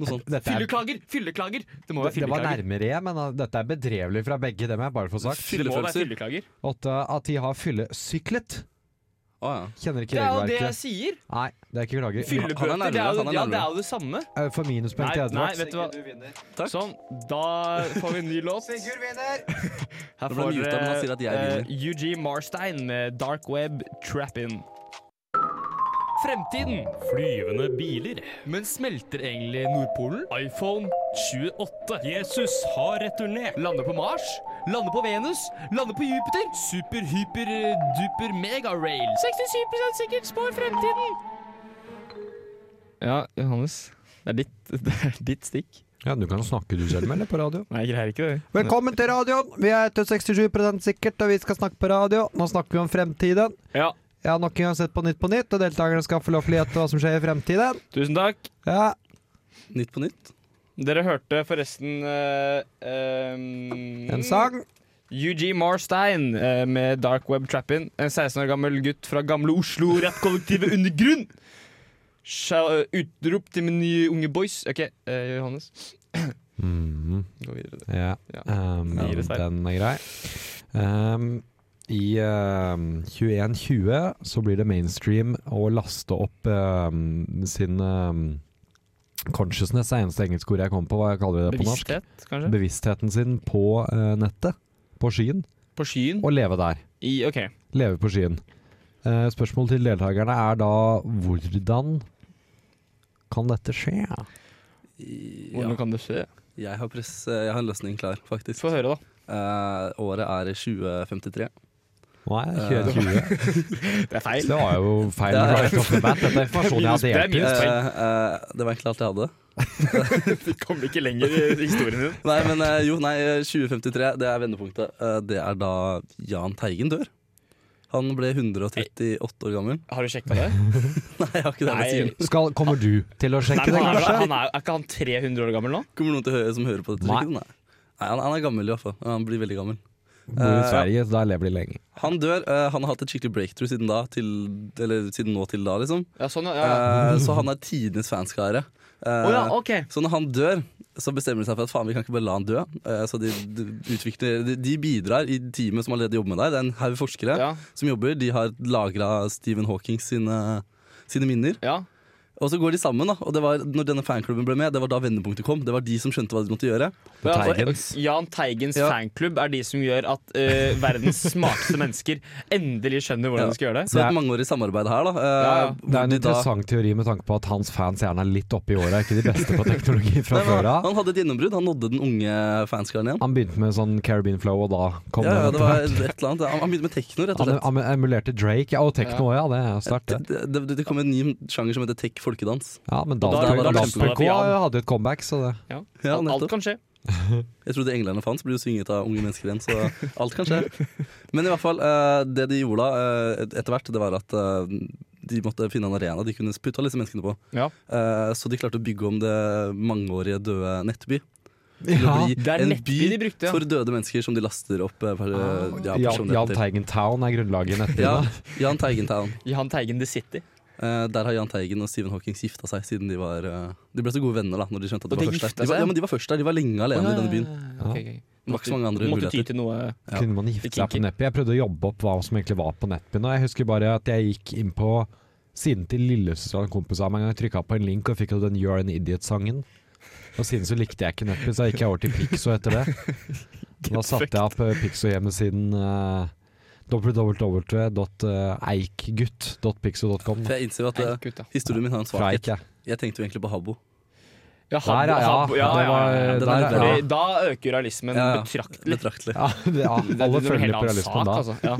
S3: Noe sånt.
S2: Dette er,
S4: Fylleklager! Fylleklager! Det må være
S2: det var
S4: fylleklager.
S2: nærmere, jeg, men uh, dette er bedrevelig fra begge dem. jeg bare får sagt.
S4: Det må være
S3: Fyllefølelser.
S4: fylleklager.
S2: Åtte av ti har fyllesyklet.
S3: Å ja.
S2: Kjenner ikke
S4: Det er jo det jeg
S2: regelverket.
S4: sier!
S2: Nei, det er ikke klager.
S3: Fylle-
S4: Fyllebøter,
S3: Han er
S4: det er
S3: nærmere,
S4: jo,
S3: han er
S4: ja,
S3: nærmere.
S4: det, er jo det samme.
S2: Uh, For minuspoeng
S4: Nei,
S2: til
S4: nei,
S2: Edvard.
S4: vet du hva.
S3: Takk.
S4: Sånn, da får vi en ny låt. Sigurd vinner! Her
S3: Da ble
S4: får
S3: han muta, men han sier at jeg
S4: eh, UG Marstein med Dark Web Trap-In. Fremtiden.
S6: Flyvende biler.
S4: Men smelter egentlig Nordpolen?
S6: iPhone 28. Jesus har returnert.
S4: Lande på Mars? Lande på Venus? Lande på Jupiter? Super-hyper-duper-mega-rail. 67 sikkert spår fremtiden. Ja, Johannes. Det er ditt, (laughs) det er ditt stikk.
S2: Ja, du kan snakke du selv med, eller? På radio.
S4: Nei, jeg greier ikke det.
S2: Velkommen til radioen! Vi er til 67 sikkert, og vi skal snakke på radio. Nå snakker vi om fremtiden.
S4: Ja,
S2: Jeg har nok en gang sett på Nytt på Nytt, og deltakerne skal få lov til å gjette hva som skjer i fremtiden.
S4: tusen takk.
S2: Ja,
S3: Nytt på nytt.
S4: Dere hørte forresten eh, ehm,
S2: en sang.
S4: UG Marstein eh, med Dark Web Trappin. En 16 år gammel gutt fra gamle Oslo, rappkollektivet Undergrunn. Sja- Utrop eh, til mine nye unge boys. OK, eh, Johannes.
S2: Mhm.
S4: Gå videre.
S2: Ja,
S4: Ja.
S2: um,
S4: Ja, det er sterkt.
S2: den er grei. Um, i eh, 2120 så blir det mainstream å laste opp eh, sin eh, consciousness, er eneste engelske ordet jeg kommer på. Hva kaller vi det på norsk?
S4: Bevissthet, kanskje?
S2: Bevisstheten sin på eh, nettet, på skyen,
S4: På skyen?
S2: og leve der.
S4: I, ok.
S2: Leve på skyen. Eh, spørsmålet til deltakerne er da hvordan kan dette skje?
S3: Ja,
S4: Hvordan kan det skje?
S3: jeg, har press, eh, jeg har en løsning klar, faktisk.
S4: Få høre, da.
S3: Eh, året er 2053.
S2: Nei, 2020.
S4: Det er feil.
S2: Det var jo feil.
S3: Ja, ja.
S2: right off the bat. Dette er informasjon jeg
S4: Det
S2: hadde
S4: er
S2: delt ut.
S4: minus
S3: Eh,
S4: poeng.
S3: eh, det var egentlig alt jeg hadde.
S4: Vi kommer ikke lenger i historien din.
S3: Nei, men eh, jo, nei, 2053, det er vendepunktet. Eh, Det er da Jahn Teigen dør. Han ble 138 år gammel. (laughs)
S4: Har du sjekka det?
S3: Nei, jeg har ikke det.
S4: Nei.
S3: jeg sier.
S2: Skal, kommer du til å
S4: Nei,
S2: sjekke
S4: men
S2: det,
S4: han er,
S2: kanskje?
S4: han er, er ikke han 300 år gammel nå?
S3: Kommer noen til å høre, som hører på dette?
S2: Nei.
S3: sikkert? Nei. Nei, han, han er gammel i hvert fall. Han blir veldig gammel.
S2: Bor i
S3: Eh,
S2: Sverige, så der lever de lenge.
S3: Han dør. eh, Han har hatt et skikkelig breakthrough siden da, til, eller siden nå til da, liksom.
S4: Ja, sånn, ja. ja.
S3: Eh, Så han er tidenes fanskare. Eh,
S4: Å ja, ok.
S3: Så når han dør, så bestemmer de seg for at faen, vi kan ikke bare la han dø. Eh, Så de, de, utvikler, de, de bidrar i teamet som allerede jobber med deg. Det er en haug forskere
S4: Ja.
S3: som jobber. De har lagra Stephen Hawking sine, sine minner.
S4: ja.
S3: Og så går de sammen. da Og det var når denne fanklubben ble med, det var da vendepunktet kom. Det var de som skjønte hva de måtte gjøre.
S4: Ja, altså,
S2: Teigens.
S4: Jahn Teigens
S3: Ja.
S4: fanklubb er de som gjør at eh, verdens smarteste mennesker endelig skjønner hvordan
S3: Ja.
S4: de skal gjøre det.
S3: Så
S2: Det
S3: et
S2: er-
S3: mangeårig samarbeid her, da. eh,
S4: Ja, ja.
S2: Det er
S3: hvor
S2: en
S3: de da-
S2: interessant teori med tanke på at hans fans gjerne er litt oppe i åra, ikke de beste på teknologi fra
S3: Nei, men
S2: før
S3: han,
S2: av.
S3: han hadde et gjennombrudd. Han nådde den unge fanskaren igjen.
S2: Han begynte med sånn Caribbean Flow, og da kom
S3: Ja, ja,
S2: det.
S3: det var et eller annet Han han begynte med tekno, rett og
S2: Han
S3: slett.
S2: am- emulerte Drake. Ja, og tekno òg, ja. Det er sterkt, det.
S3: Det, det, det kom en ny sjanger som heter tech folkedans.
S2: Ja, men
S4: da-
S2: Daft
S3: da- da-
S2: Punk- Daft
S4: da-
S2: Punk òg hadde jo et comeback, så det
S4: Ja.
S3: Ja,
S4: alt, alt
S3: nettopp.
S4: kan skje.
S3: Jeg trodde englene fantes, ble jo svinget av unge mennesker igjen, så alt kan
S2: (laughs)
S3: skje. Men i hvert fall, eh, det de gjorde da, eh, et- etter hvert, det var at eh, de måtte finne en arena de kunne putte alle disse menneskene på.
S4: Ja.
S3: Eh, Så de klarte å bygge om det mangeårige døde Nettby. til
S2: Ja,
S3: å bli
S4: Det er
S3: en
S4: nettby de brukte, ja.
S3: for døde mennesker som de laster opp eh, per, ja,
S2: Ah, Jan
S3: personligheten
S2: Jan
S3: til.
S2: Teigen Town er grunnlaget i
S3: Ja,
S2: nettbyen.
S3: Jahn Teigentown.
S4: Jahn Teigen The City.
S3: Eh, der har Jahn Teigen og Stephen Hawking gifta seg siden de var eh, De ble så gode venner da Når de skjønte at
S4: Og
S3: de
S4: de
S3: var først der.
S4: gifta
S3: De var,
S4: seg?
S3: ja, men de var først der, de var lenge alene i denne byen.
S4: Ok, ok.
S3: Det var ikke så mange andre
S4: Måtte ty
S3: muligheter.
S4: til noe
S3: Ja.
S2: Kunne man gifte seg på nettby? Jeg prøvde å jobbe opp hva som egentlig var på nettbyen, og jeg husker bare at jeg gikk inn på siden til lillesøstera og en kompis av meg en gang, trykka på en link og fikk jo den You're an Idiot-sangen. Og siden så likte jeg ikke nettby, så gikk jeg over til Pixo etter det. Da satte jeg opp eh, Pixo-hjemmesiden uh, www.eikgutt.pixo.com.
S3: For jeg innser jo at
S4: Nei,
S3: eh,
S4: gutta.
S3: historien min har en
S2: Fra
S3: svakhet.
S2: Eik, jeg.
S3: Jeg tenkte jo egentlig på Habbo.
S4: Ja,
S2: Der,
S4: Habbo-
S2: ja, ja.
S4: Habbo- ja,
S2: Det
S4: ja,
S2: var,
S4: ja, ja.
S2: der,
S3: Den er
S2: ja.
S4: Fordi Da øker realismen
S3: Ja, ja.
S4: betraktelig.
S3: Betraktelig.
S2: Ja, det, ja,
S4: Det er
S2: alle
S4: noe
S2: følger
S4: helt
S2: på
S4: annen sak,
S2: realismen da.
S4: altså. Ja.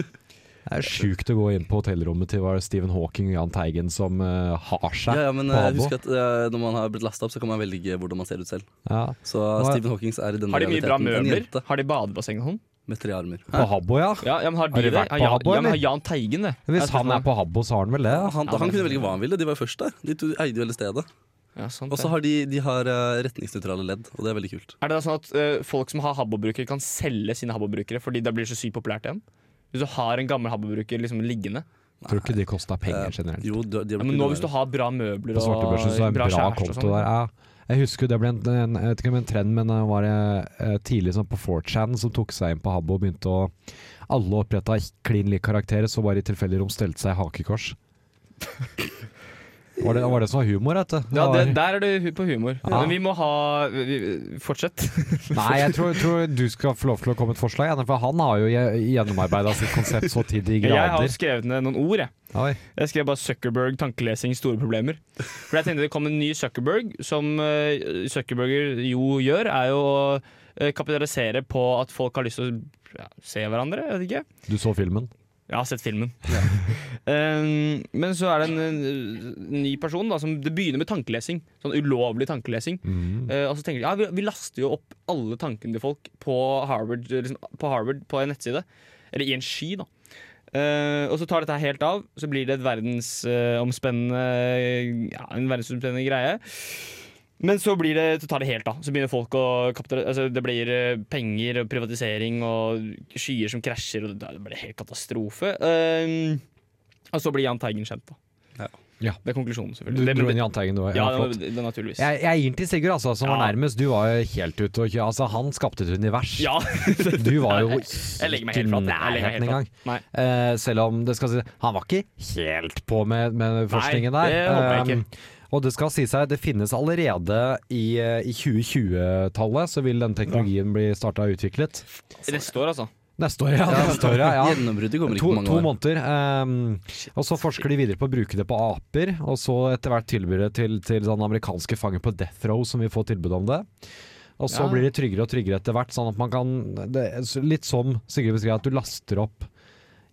S2: Det er sjukt å gå inn på hotellrommet til var det Stephen Hawking og Jahn Teigen som eh, har seg
S3: Ja, ja, men
S2: på
S3: eh,
S2: Habbo.
S3: husk at eh, når man har blitt lasta opp, så kan man velge hvordan man ser ut selv.
S2: Ja.
S3: Så
S2: ja.
S3: Stephen Hawkins er i denne
S4: Har de mye bra
S3: realiteten en
S4: møbler?
S3: jente
S4: Har de badebasseng og sånn?
S3: med tre armer.
S2: På Habbo, ja.
S4: Ja, ja, men har de,
S2: Har de
S4: det?
S2: vært
S4: Har
S2: på
S4: Jan-
S2: Habbo,
S4: ja, men har
S2: eller?
S4: Jan Teigen det?
S2: Hvis
S4: Jeg
S2: han
S4: spørsmål.
S2: er på Habbo, så har han vel det.
S3: Han,
S4: Ja,
S3: han
S4: men-
S3: kunne velge hva han ville, de var jo først der. De to eide jo hele stedet.
S4: ja, sant,
S3: Og
S4: det.
S3: så har de, de har eh, retningsnøytrale ledd, og det er veldig kult.
S4: Er det da sånn at eh, folk som har Habbo-brukere, kan selge sine Habbo-brukere fordi det blir så sykt populært igjen? Hvis du har en gammel Habbo-bruker liksom liggende
S2: Tror ikke de kosta penger generelt.
S3: Eh, Jo, de, de
S4: ja,
S3: har
S4: Men
S3: blitt
S4: nå
S3: millionærer.
S4: hvis du har bra møbler
S2: På
S4: og
S2: svartebørsen så er det en bra,
S4: kjæreste og
S2: konto
S4: sånn.
S2: der. Ja. Jeg husker jo det ble en, en, jeg vet ikke om en trend, men det var eh, tidlig sånn på 4chan som tok seg inn på Habbo og begynte å Alle oppretta klin lik karakterer, så bare i tilfeldig rom stelte seg i hakekors. Var det, var det som var humor, vet du?
S4: Ja, det,
S2: var-
S4: Der er det hu- på humor.
S2: Ja.
S4: Men vi må ha vi, vi- Fortsett.
S2: (laughs) Nei, jeg tror, tror du skal få lov til å komme med et forslag, Janne, for han har jo gje- gjennomarbeida sitt konsept så til de
S4: Jeg har
S2: grader.
S4: skrevet ned noen ord, jeg.
S2: Oi.
S4: Jeg skrev bare 'Zuckerberg tankelesing store problemer'. For jeg tenkte det kom en ny Zuckerberg, som eh, Zuckerberger jo gjør, er jo å eh, kapitalisere på at folk har lyst til å ja, se hverandre, jeg vet ikke.
S2: Du så filmen?
S4: Jeg har sett filmen. um, men så er det en, en ny person da, som det begynner med tankelesing. Sånn ulovlig tankelesing. Eh, og så tenker de ja, vi, vi laster jo opp alle tankene til folk på Harvard, eh, liksom, på Harvard på en nettside. Eller i en sky, da. Eh, og så tar dette helt av, så blir det et verdensomspennende ja, en verdensomspennende greie. Men så, blir det, så tar det helt av. Så begynner folk å kapital- altså Det blir eh, penger og privatisering og skyer som Eh, krasjer, og det det blir helt katastrofe. Ehm, og så blir Jahn Teigen kjent, da.
S3: Ja.
S2: Ja.
S4: Det er konklusjonen,
S2: Du
S4: selvfølgelig. Det-
S2: dro
S4: men-
S2: inn Jahn Teigen, du òg.
S4: ja,
S2: Ja,
S4: det,
S2: flott.
S4: det, det, naturligvis.
S2: Jeg, jeg gir den til Sigurd, altså, som var
S4: Ja.
S2: nærmest. Du var jo helt ute å kjøre. Altså, han skapte et univers.
S4: ja.
S2: (laughs) Du var jo
S4: (laughs) Jeg legger meg helt flat. Jeg legger meg helt
S2: engang.
S4: flat. Nei.
S2: Eh, selv om det skal si, han var ikke helt på med, med forskningen
S4: Nei,
S2: der.
S4: det håper jeg
S2: Um, og det skal si seg, det finnes allerede i, eh, i 2020-tallet, så vil den teknologien bli starta og utviklet.
S4: Neste år, altså.
S2: Neste år, ja. Neste år, ja, ja.
S3: Gjennombruddet kommer ikke
S2: To,
S3: på mange
S2: to
S3: år.
S2: måneder. ehm, og så forsker de videre på å bruke det på aper, og så etter hvert tilbyr det til, til sånne amerikanske fanger på death row som vil få tilbud om det. Og så
S4: Ja.
S2: blir de tryggere og tryggere etter hvert, sånn at man kan det, er s- Litt som Sigrid beskrev, at du laster opp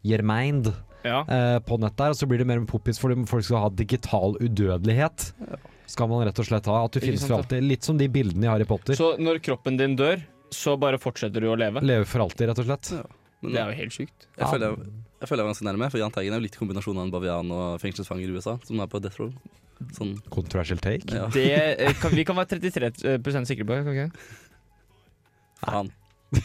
S2: Jermeind
S4: Ja.
S2: eh, på nett der, og så blir det mer en poppis fordi folk skal ha digital udødelighet. Skal man rett og slett ha. At du
S4: Ikke
S2: finnes
S4: sant,
S2: for alltid. Litt som de bildene i Harry Potter.
S4: Så når kroppen din dør, så bare fortsetter du å leve?
S2: Leve for alltid, rett og slett.
S3: Men
S4: Det er jo helt sjukt.
S3: jeg, føler jeg, jeg føler jeg er ganske nærme, for Jahn Teigen er jo litt kombinasjon av en bavian og fengselsfanger i USA, som er på death row. Sånn,
S2: Controversial take.
S3: ja,
S4: Det, eh, kan, vi kan være 33 sikre på, kan vi ikke?
S3: faen.
S4: Det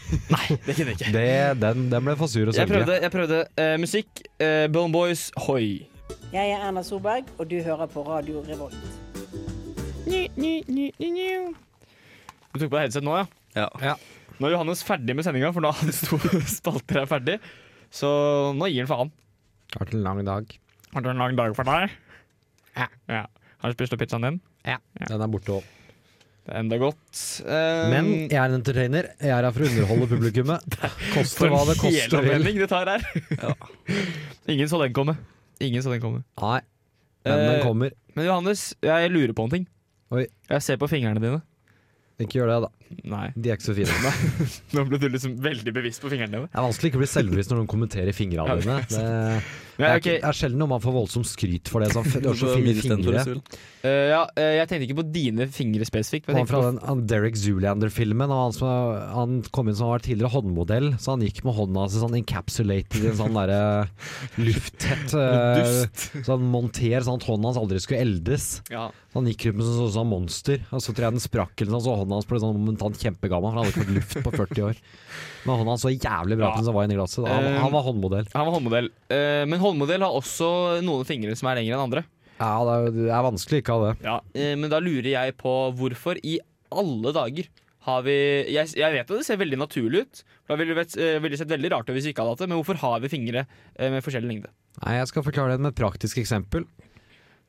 S4: kunne jeg ikke.
S2: Det, den, den ble for sur og
S4: Jeg
S2: sørgelig.
S4: prøvde. jeg prøvde Eh, Musikk, uh, Bone Boys, hoi.
S7: Jeg er Erna Solberg, og du hører på Radio Revolt.
S4: Du tok på deg headset nå, ja?
S3: Ja.
S4: Nå er Johannes ferdig med sendinga, for nå er hans to (laughs) spalter er ferdig. Så nå gir han faen.
S2: Det har vært en lang dag.
S4: Har du en lang dag for deg? Ja. Har du spist opp pizzaen din?
S2: Den er borte òg.
S4: Det er enda godt. Um, Eh,
S2: Men jeg er en entertainer. Jeg er her for å underholde
S4: (laughs)
S2: publikummet. Koste hva det koste vil.
S4: det tar her. (laughs)
S3: Ja.
S4: Ingen så den komme. Ingen så den komme.
S2: Nei, men den
S4: Eh,
S2: kommer.
S4: Men Johannes, jeg lurer på en ting.
S2: Oi.
S4: Jeg ser på fingrene dine.
S2: Ikke gjør det, da.
S4: Nei.
S2: De er ikke så fine.
S4: (laughs) Nå ble du liksom veldig bevisst på fingrene dine.
S2: Det er vanskelig ikke å bli selvbevisst når noen kommenterer fingrene
S4: Ja, det
S2: dine.
S4: (laughs) er
S2: Det det
S4: Men,
S2: er,
S4: ok,
S2: ikke, det er sjelden noe man får voldsomt skryt for det. Sånn, f- du har
S3: Så
S2: så fine
S3: minus den,
S2: fingre.
S3: hvis du vil.
S4: eh, ja, eh, jeg tenkte ikke på dine fingre spesifikt. men
S2: Han
S4: jeg
S2: fra
S4: tenkte
S2: den han Derek Zoolander-filmen. og Han, som er- han kom inn som var tidligere håndmodell, så han gikk med hånda si sånn encapsulated i en sånn
S4: (laughs)
S2: derre lufttett eh, Sånn monter, sånn at hånda hans aldri skulle eldes.
S4: på- ja.
S2: Han gikk rundt med sånn, sånn, sånn monster, og så tror jeg den sprakk eller noe, så hånda hans ble sånn momentant kjempegammel, for han hadde ikke fått luft på 40 år. Men hånda hans så jævlig bra
S4: Ja.
S2: ut som den var inni glasset. Han,
S4: Eh,
S2: han var håndmodell.
S4: Han var håndmodell. Eh, men håndmodell har også noen fingre som er lengre enn andre.
S2: Ja, det er, det er vanskelig ikke å ha det.
S4: Eh, men da lurer jeg på hvorfor i alle dager har vi Jeg, jeg vet jo det ser veldig naturlig ut. Da ville det vært- eh, ville det sett veldig rart ut hvis vi ikke hadde hatt det, men hvorfor har vi fingre eh, med forskjellig lengde?
S2: Nei, jeg skal forklare det med et praktisk eksempel.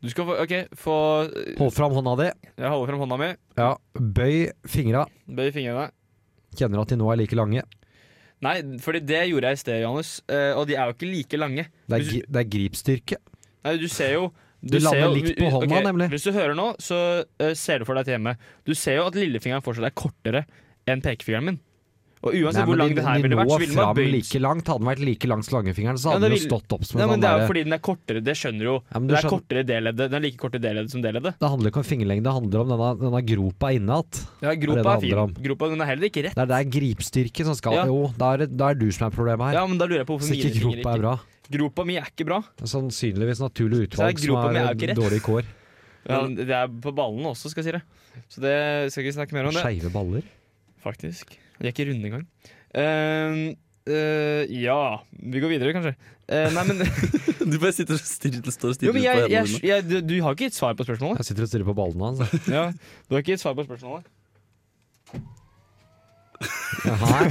S4: Du skal få, ok, få
S2: Hold fram hånda di.
S4: Jeg holder frem hånda mi.
S2: Ja, bøy fingra.
S4: Bøy fingrene.
S2: Kjenner at de nå er like lange.
S4: Nei, fordi det gjorde jeg i sted, Johannes. eh, og de er jo ikke like lange.
S2: Det er,
S4: Hvis-
S2: gi- det er gripstyrke.
S4: Nei, du ser jo
S2: Du lander
S4: ser jo-
S2: likt på hånda,
S4: ok,
S2: nemlig.
S4: Hvis du hører nå, så eh, ser du for deg til hjemme. Du ser jo at lillefingeren fortsatt er kortere enn pekefingeren min. Og uansett hvor lang
S2: de,
S4: det her
S2: de
S4: ville vært,
S2: når
S4: så ville man
S2: fram
S4: bøyd
S2: like langt. Hadde den vært like langs langfingeren, så
S4: Ja,
S2: hadde den
S4: det
S2: jo
S4: vil-
S2: stått opp som en
S4: Nei, men
S2: sånn
S4: Det er jo
S2: derre-
S4: fordi den er kortere, det skjønner du jo.
S2: Ja, men du
S4: det er
S2: skjønner-
S4: kortere D-leddet, Den er like kort i D-leddet som D-leddet.
S2: Det handler ikke om fingerlengde, det handler om denne, denne gropa inne igjen.
S4: Ja,
S2: det
S4: gropa
S2: det
S4: er fin.
S2: handler om.
S4: Gropa den er heller ikke rett.
S2: Det er, det er gripstyrke som skal
S4: Ja.
S2: Jo, da er, det- da er du som er problemet her.
S4: Ja, men da lurer jeg på hvorfor
S2: Hvis
S4: mine
S2: ikke
S4: fingre
S2: gropa er
S4: ikke
S2: bra.
S4: Gropa mi er ikke bra.
S2: Sannsynligvis naturlig
S4: Så er
S2: utvalg som
S4: gropa mi er
S2: er
S4: jo ikke rett.
S2: dårlige kår.
S4: Ja, det er på ballene også, skal jeg si det. Så det skal jeg ikke snakke mer om det.
S2: Skeive baller.
S4: Faktisk. De er ikke runde engang. Ehm, eh, ja Vi går videre, kanskje. Eh, nei,
S2: (laughs)
S4: men,
S3: (laughs) Du bare sitter og stirrer, står og
S4: jo,
S3: stirrer
S4: men
S3: ut på
S4: jeg,
S3: hendene
S4: jeg,
S3: dine.
S4: jeg, du, du har ikke et svar på
S2: (laughs)
S4: spørsmålet.
S2: Jeg sitter og stirrer på ballene hans.
S4: (laughs)
S2: jeg.
S4: Ja, du har ikke et svar på spørsmålet.
S2: Nei,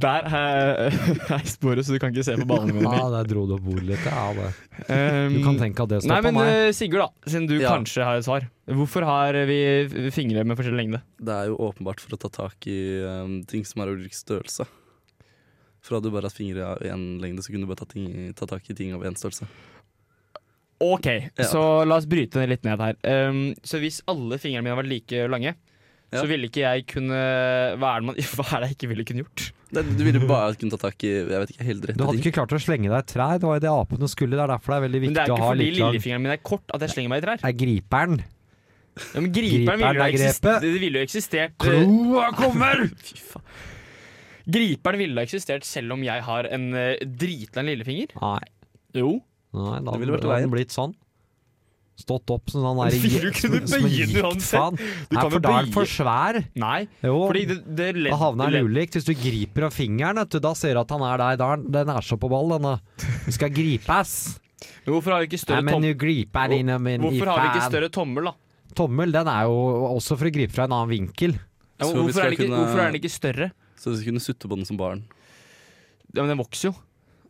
S4: Der er, (laughs) er sporet, så du kan ikke se på ballene mine.
S2: ja, der dro du opp bordet litt. Ja, det.
S4: Ehm,
S2: Du kan tenke at det
S4: Nei,
S2: står på
S4: men
S2: meg.
S4: eh, Sigurd, da, siden du
S3: Ja.
S4: kanskje har et svar. Hvorfor har vi f- fingre med forskjellig lengde?
S3: Det er jo åpenbart for å ta tak i um, ting som er ulik størrelse. For hadde du bare hatt fingre av én lengde, så kunne du bare ta, ting, ta tak i ting av én størrelse.
S4: OK,
S3: Ja.
S4: så la oss bryte det litt ned her. Ehm, så hvis alle fingrene mine hadde vært like lange,
S3: Ja.
S4: så ville ikke jeg kunne Hva er det, man, (laughs) hva er det jeg ikke ville kunne gjort?
S3: Nei, du ville bare kunne ta tak i jeg vet ikke, helt
S2: Du
S3: rette
S2: hadde
S3: ting.
S2: ikke klart å slenge deg i et trær. Det var jo det apene skulle. Det er derfor det er veldig
S4: Men det
S2: viktig
S4: er
S2: å
S4: ikke
S2: ha
S4: fordi
S2: litt lang Det
S4: lillefingeren min er kort at jeg slenger meg i trær.
S2: er griperen.
S4: Ja, men griperen
S2: Griperen
S4: ville jo,
S2: er
S4: eksist
S2: grepet.
S4: det ville jo eksistert eh,
S2: Kloa kommer!
S4: (laughs) Fy faen. Griperen ville ha eksistert selv om jeg har en eh, dritlang lillefinger.
S2: Nei,
S4: Jo.
S2: nei da
S3: Det
S2: hadde
S3: ville
S2: det
S3: vært
S2: hadde
S3: veien.
S2: blitt sånn. Stått opp som
S4: (laughs)
S2: sånn der
S4: Ville du kunne
S2: som en
S4: bøye den uansett?
S2: giktfaen.
S4: Du
S2: Nei,
S4: kan jo
S2: for da er den for
S4: bøye-
S2: svær.
S4: Nei.
S2: Jo,
S4: Fordi det, det ledd-
S2: Da havner han
S4: ledd-
S2: ulikt. Hvis du griper av fingeren, vet du, da ser du at han er der. Da er han- den er så på ball, denne. Du skal gripes.
S4: Men hvorfor har vi ikke større,
S2: Nei, men
S4: tom
S2: du griper inn om en
S4: hvorfor har vi ikke
S2: ifan.
S4: større tommel, da?
S2: Tommel, den er jo også for å gripe fra en annen vinkel.
S4: Ja, men
S3: Så vi
S4: hvorfor,
S3: skal
S4: er det ikke,
S3: kunne-
S4: hvorfor er den ikke større?
S3: Så hvis vi kunne sutte på den som barn.
S4: Ja, men Den vokser jo.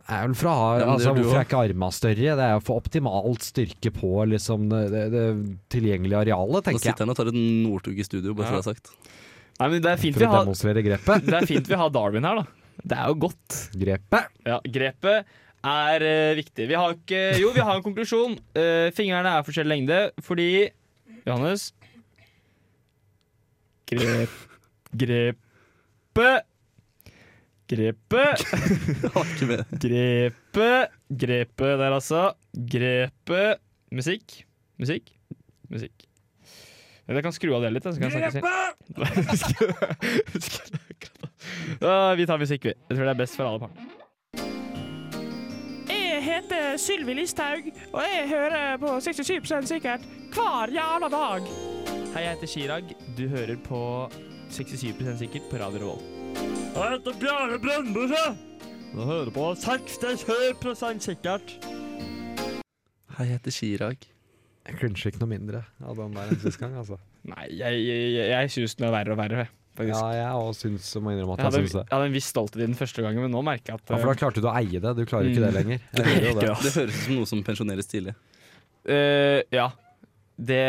S2: Det Er vel fra,
S3: Ja, men det
S2: altså,
S3: gjør du
S2: hvorfor
S3: også.
S2: er ikke arma større? Det er jo for optimalt styrke på liksom, det, det, det tilgjengelige arealet,
S3: Da
S2: tenker jeg.
S3: sitter han og tar et Northug i studio, bare
S4: Ja.
S3: så det er sagt.
S4: Nei, men Det er fint
S2: For
S4: vi
S2: å
S4: har,
S2: demonstrere
S4: (laughs)
S2: grepet.
S4: det er fint vi har Darwin her, da. Det er jo godt.
S2: Grepet.
S4: Ja, Grepet er eh, viktig. Vi har ikke Jo, vi har en konklusjon. Eh, fingrene er forskjellig lengde fordi Johannes Grep... Grepet Grepet
S3: Han er ikke med.
S4: Grepet Grepet der, altså. Grepet Musikk. Musikk. Musikk. Men jeg kan skru av det litt. da, Så kan jeg (laughs) snakke selv. Ja, vi tar musikk, vi. Jeg tror det er best for alle parter.
S8: Jeg heter Sylvi Listhaug, og jeg hører på 67 sikkert hver jævla dag.
S4: Hei, jeg heter Chirag. Du hører på 67 sikkert på Radio Revolt.
S6: Jeg heter Bjarne Brøndbøse. Nå hører du på 67 sikkert.
S3: Hei, jeg heter Chirag.
S2: Jeg klinsjer ikke noe mindre av den der enn sist gang, altså.
S4: Nei, jeg, jeg, jeg- jeg syns den er verre og verre, faktisk.
S2: Ja, jeg òg syns jeg må innrømme
S4: jeg,
S2: at
S4: hadde,
S2: jeg syns
S4: jeg
S2: det.
S4: hadde en viss stolthet i den første gangen, men nå merker jeg at eh,
S2: Ja, for da klarte du å eie det. Du klarer ikke det lenger. Jeg
S4: (laughs)
S2: hører jo det.
S4: Ja.
S3: Det høres ut som noe som pensjoneres tidlig.
S4: eh, Ja. Det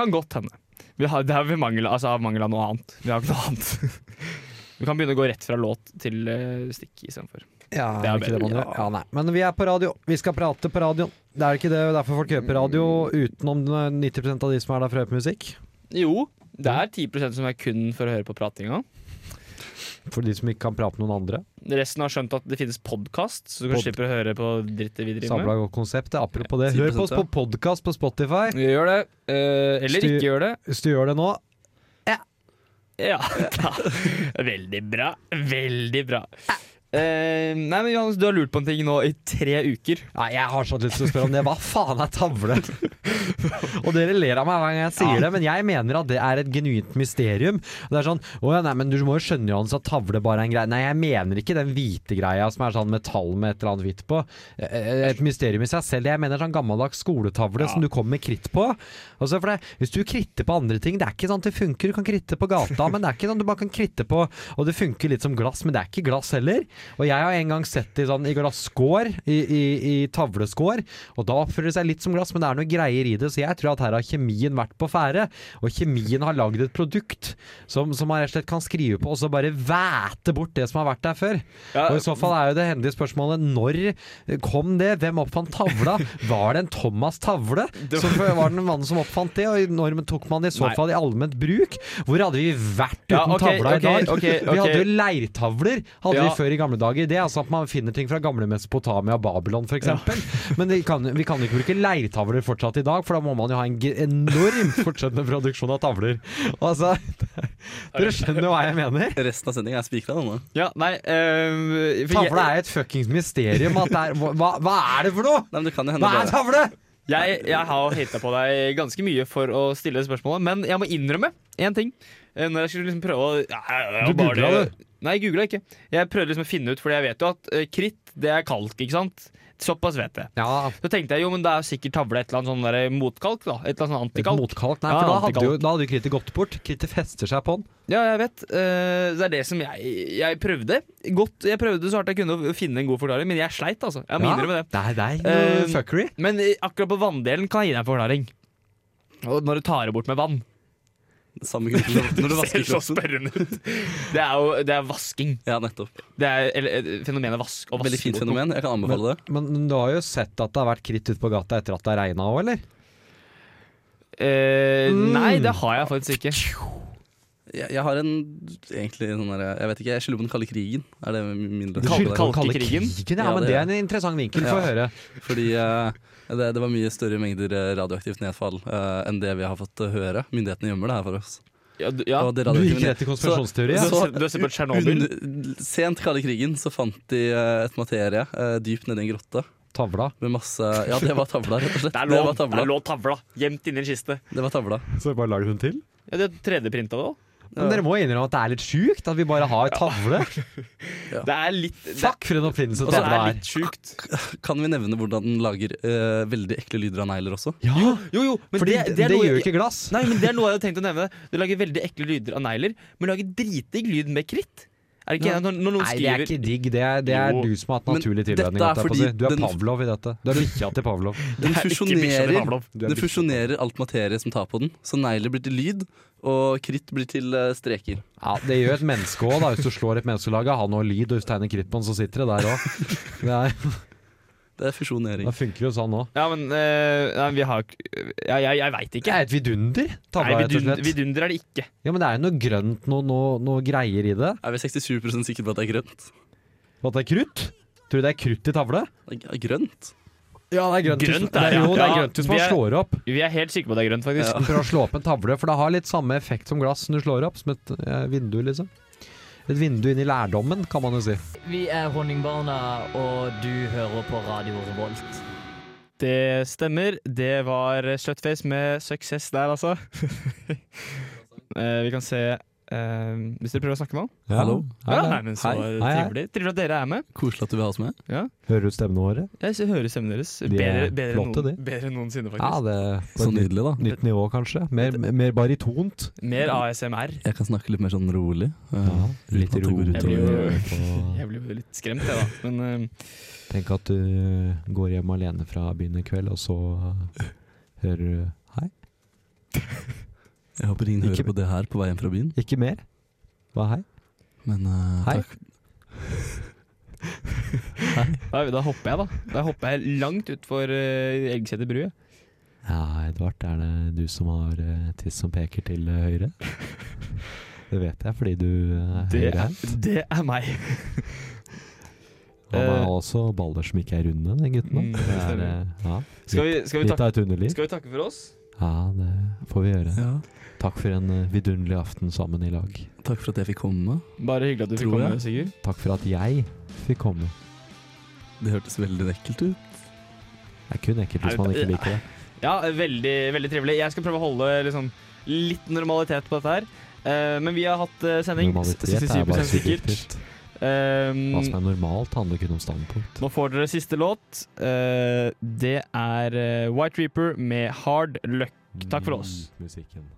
S4: kan godt hende. Vi har, det er vi mangel, altså, av mangel av noe annet. Vi har ikke noe annet. (laughs) Vi kan begynne å gå rett fra låt til eh, stikk istedenfor.
S2: Ja,
S4: Det er
S2: ikke det man
S4: bedre,
S2: gjør. Ja, nei. Men vi er på radio. Vi skal prate på radioen. Det er ikke det derfor folk hører på radio, utenom 90 av de som er der for å høre på musikk.
S4: Jo, det er 10 som er kun for å høre på pratinga.
S2: For de som ikke kan prate med noen andre.
S4: Resten har skjønt at det finnes podkast, så du kan
S2: Pod-
S4: slippe å høre på drittet vi driver med.
S2: Sabla godt konsept. ja, Apropos det,
S3: 10%,
S2: hør på oss
S3: ja.
S2: på podkast på Spotify
S4: Gjør det. eh, eller
S2: Styr-
S4: ikke gjør det.
S2: hvis du gjør det nå.
S4: Ja. da. (laughs) Veldig bra. Veldig bra. Eh, nei, men Johannes, du har lurt på en ting nå i tre uker.
S2: Nei, jeg har så lyst til å spørre om det. Hva faen er tavle? og dere ler av meg hver gang jeg sier det, men jeg mener at det er et genuint mysterium. Det er sånn Å ja, nei, men du må jo skjønne, Johannes, at tavle bare er en greie. Nei, jeg mener ikke den hvite greia som er sånn metall med et eller annet hvitt på. Eh, Et mysterium i seg selv. Jeg mener sånn gammeldags skoletavle som du kommer med kritt på. Og så for det, Hvis du kritter på andre ting, det er ikke sånn at det funker. Du kan kritte på gata, men det er ikke sånn du bare kan kritte på Og det funker litt som glass, men det er ikke glass heller. Og jeg har en gang sett det i sånn, i glasskår, i, i, i tavleskår, og da oppfører det seg litt som glass, men det er noe greier i det, så jeg tror at her har kjemien vært på ferde. Og kjemien har lagd et produkt som, som man rett og slett kan skrive på, og så bare væte bort det som har vært der før.
S4: Ja,
S2: Og i så fall er jo det hendige spørsmålet når kom det? Hvem oppfant tavla? Var det en Thomas
S4: (laughs)
S2: Tavle? Som var den mannen som oppfant det? Og når tok man det i så
S4: Nei.
S2: fall i allment bruk? Hvor hadde vi vært uten
S4: Ja, ok,
S2: tavla i
S4: ok,
S2: dag?
S4: ok, ok.
S2: Vi hadde jo leirtavler hadde
S4: Ja.
S2: vi før i gamle dager. Det er altså at man finner ting fra gamle Mesopotamia og Babylon f.eks. eksempel Men det kan, vi kan ikke bruke leirtavler fortsatt i dag, for da må man jo ha en ge- enormt fortsettende produksjon av tavler. Altså, (laughs) dere skjønner hva jeg mener?
S3: Resten av sendinga er spikra. denne.
S4: ja nei eh, for
S2: Tavle er et fuckings mysterium. At det er, hva, hva er det for noe?!
S3: Nei, men det kan jo hende
S2: Hva er
S3: bare
S2: tavle?!
S4: Jeg, jeg har hata på deg ganske mye for å stille det spørsmålet, men jeg må innrømme én ting. Eh, Når jeg skulle liksom prøve å ja, ja, ja,
S2: Du
S4: bare
S2: googlet
S4: det- Nei, jeg googla ikke. Jeg prøvde liksom å finne ut, for jeg vet jo at eh, kritt, det er kalk, ikke sant? Såpass vet jeg.
S2: Ja,
S4: Så tenkte jeg jo, men det er jo sikkert tavle et eller annet sånn der motkalk, da. Et eller annet sånn
S2: et
S4: antikalk.
S2: motkalk. Nei,
S4: Ja,
S2: for da hadde,
S4: antikalk.
S2: jo, da hadde jo krittet gått bort. Krittet fester seg på den.
S4: Ja, jeg vet. Eh, det er det som jeg, jeg prøvde. Godt, jeg prøvde så hardt jeg kunne å finne en god forklaring, men jeg sleit, altså. Jeg må
S2: Ja.
S4: innrømme det.
S2: Nei, nei, noe
S4: Eh,
S2: fuckery.
S4: Men eh, akkurat på vanndelen kan jeg gi deg en forklaring. Og Når du tar det bort med vann.
S3: det samme kroppen når
S4: (laughs)
S3: du vasker kroppen.
S4: spørrende ut. Det er jo det er vasking.
S3: Ja, nettopp.
S4: Det er eller, eh, fenomenet vask. Å vaske
S3: Veldig fint
S4: bort noe.
S3: fenomen. Jeg kan
S2: Men,
S3: anbefale det.
S2: men du har jo sett at det har vært kritt ute på gata etter at det har regna òg, eller?
S4: Eh, Nei,
S2: Mm.
S4: det har jeg faktisk ikke.
S3: Jeg, jeg har en egentlig sånn der, Jeg vet ikke, jeg skylder på den kalde krigen. Er det min løsning?
S4: Kald-
S3: på det?
S4: kald-
S2: Kalle
S4: krigen?
S2: Ja,
S3: Ja,
S2: men
S3: det-
S2: det er en interessant vinkel. Få
S3: Ja.
S2: høre.
S3: Fordi eh, det, det var mye større mengder eh, radioaktivt nedfall eh, enn det vi har fått eh, høre. Myndighetene gjemmer det her for oss.
S4: Ja, du, ja.
S3: Og det
S2: Du
S3: radioaktive
S2: gikk rett i
S3: ned- så-
S2: konspirasjonsteori. Ja.
S4: Du har- du har sett på Tsjernobyl?
S3: under- Sent kalde krigen så fant de eh, et materie eh, dypt nedi en grotte
S2: Tavla.
S3: med masse Ja, det var tavla, rett og
S4: (laughs)
S3: slett.
S4: Det er
S3: var
S4: lov. Det
S3: tavla.
S4: er lov tavla. Gjemt inni en kiste.
S3: Det var tavla.
S2: Så bare lar du den til?
S4: Ja, De har 3D-printa det òg.
S2: Men dere må innrømme at det er litt sjukt at vi bare har tavle.
S4: Det er litt det,
S2: Fuck for en oppfinnelse
S4: og så er
S2: tavla
S4: det
S2: er.
S4: litt sjukt.
S3: (laughs) Kan vi nevne hvordan den lager eh, veldig ekle lyder av negler også?
S2: Ja,
S4: Jo, jo, men
S2: fordi
S4: det,
S2: det,
S4: det er noe
S2: gjør jo
S4: jeg-
S2: ikke glass.
S4: Nei, men det er noe jeg hadde tenkt å nevne. Du lager veldig ekle lyder av negler, men lager dritdigg lyd med kritt. Er det ikke
S2: Ja.
S4: enig at når, når noen
S2: Nei, det er
S4: skriver
S2: ikke digg. Det er, det er
S4: Jo.
S2: du som har hatt
S3: Men
S2: naturlig
S3: dette
S2: tilvenning. holdt
S3: er
S2: jeg på å
S3: fordi
S2: si. Du er
S3: den-
S2: Pavlov i dette.
S4: (laughs)
S2: Du er bikkja til Pavlov.
S3: Den
S4: (laughs) Det er ikke bikkja til
S3: fusjonerer,
S2: Du
S4: Pavlov.
S2: er
S3: den
S2: bikkja.
S3: fusjonerer alt materie som tar på den. Så negler blir til lyd, og kritt blir til eh, streker.
S2: Ja, det gjør et menneske òg, da. Hvis du slår et menneske og lager han og lyd, og hvis du tegner kritt på han, så sitter det der
S4: (laughs)
S2: òg. Det, er-
S3: Det er fusjonering.
S2: det funker jo sånn òg.
S4: Ja, men eh, nei, vi har ikke- ja, Jeg, jeg veit
S2: Det
S4: ikke.
S2: er et vidunder,
S4: Nei,
S2: tavla, rett og
S4: vidunder,
S2: slett.
S4: vidunder er det ikke.
S2: Ja, men det er jo noe grønt, noe, noe, noe greier i det.
S3: Er vi 67 sikre på at det er grønt?
S2: Og at det er krutt. Tror du det er krutt i tavle?
S3: Det er grønt?
S2: Ja, det er grønt.
S4: Grønt
S2: hvis-
S4: er det, ja.
S2: Jo, det er
S4: Ja,
S2: grønt hvis man
S4: vi er-
S2: slår opp.
S4: Vi er helt sikre på at det er grønt, faktisk.
S3: Ja.
S2: Prøv å slå opp en tavle, for det har litt samme effekt som glass når du slår opp, som et eh, vindu, liksom. Et vindu inn i lærdommen, kan man jo si.
S9: Vi er Honningbarna, og du hører på Radio Revolt.
S4: Det stemmer. Det var eh, Slutface med suksess der, altså. (laughs) Eh, vi kan se eh, Hvis dere prøver å snakke med ham.
S3: Hallo?
S2: Hei,
S4: nei,
S2: hei.
S4: men så
S3: Hei.
S2: Hei, hei.
S4: trivelig. Trivelig at dere er med.
S3: Koselig at du vil ha oss med.
S2: Hører du stemmene våre?
S4: Jeg s- hører stemmen deres.
S2: De
S4: Bedre,
S2: er
S4: bedre, enn
S2: flotte,
S4: noen, bedre enn noensinne,
S2: Ja,
S4: faktisk.
S2: det
S3: Så nydelig, da.
S2: Nytt nivå, kanskje. Mer, mer baritont.
S4: Mer ASMR.
S3: Jeg kan snakke litt mer sånn rolig. eh,
S2: Ja,
S3: uten
S2: litt
S3: at det går
S2: rolig.
S4: Jeg
S3: utover-
S4: blir jo-
S2: Og
S4: Jeg blir jo litt skremt, jeg, da. Men eh,
S2: Tenk at du eh, går hjem alene fra byen i kveld, og så eh, hører du Hei,
S3: Jeg håper ingen
S2: Ikke-
S3: hører på det her på vei hjem fra byen,
S2: ikke mer. Hva, hei?
S3: men eh,
S2: Hei.
S3: takk.
S4: da, da hopper jeg, da. Da hopper jeg langt utfor uh, Elgseter bru. jeg.
S2: Ja, Edvard, er det du som har eh, tiss som peker til eh,
S4: (laughs)
S2: høyre? Det vet jeg, fordi du eh, er
S4: Det er,
S2: høyrehendt.
S4: det er meg.
S2: Han
S4: eh,
S2: har også baller som ikke er runde, den gutten.
S4: Mm,
S2: da. Det er,
S4: stemmer.
S2: eh, ja,
S4: Skal vi, skal, vi
S2: litt
S4: takke,
S2: av et underliv.
S4: skal vi takke for oss?
S2: Ja, det får vi gjøre.
S3: Ja,
S2: Takk for en eh, vidunderlig aften sammen i lag.
S3: takk for at jeg fikk komme.
S4: Bare hyggelig at du fikk
S3: Tror jeg.
S4: komme, Sigurd.
S2: Takk for at jeg fikk komme.
S3: Det hørtes veldig ekkelt ut.
S2: Det er kun ekkelt hvis
S4: Nei,
S2: man ikke
S4: det-
S2: liker det.
S4: Ja, veldig, veldig trivelig. Jeg skal prøve å holde liksom, litt normalitet på dette her. Eh, men vi har hatt eh, sending.
S2: Normalitet er
S4: 67
S2: bare
S4: sikkert.
S2: subjektivt. Hva som
S4: Eh,
S2: er normalt, handler kun om standpunkt.
S4: nå får dere siste låt. Eh, det er eh, White Reaper med Hard Luck. Takk for oss.
S2: Mm, Musikken.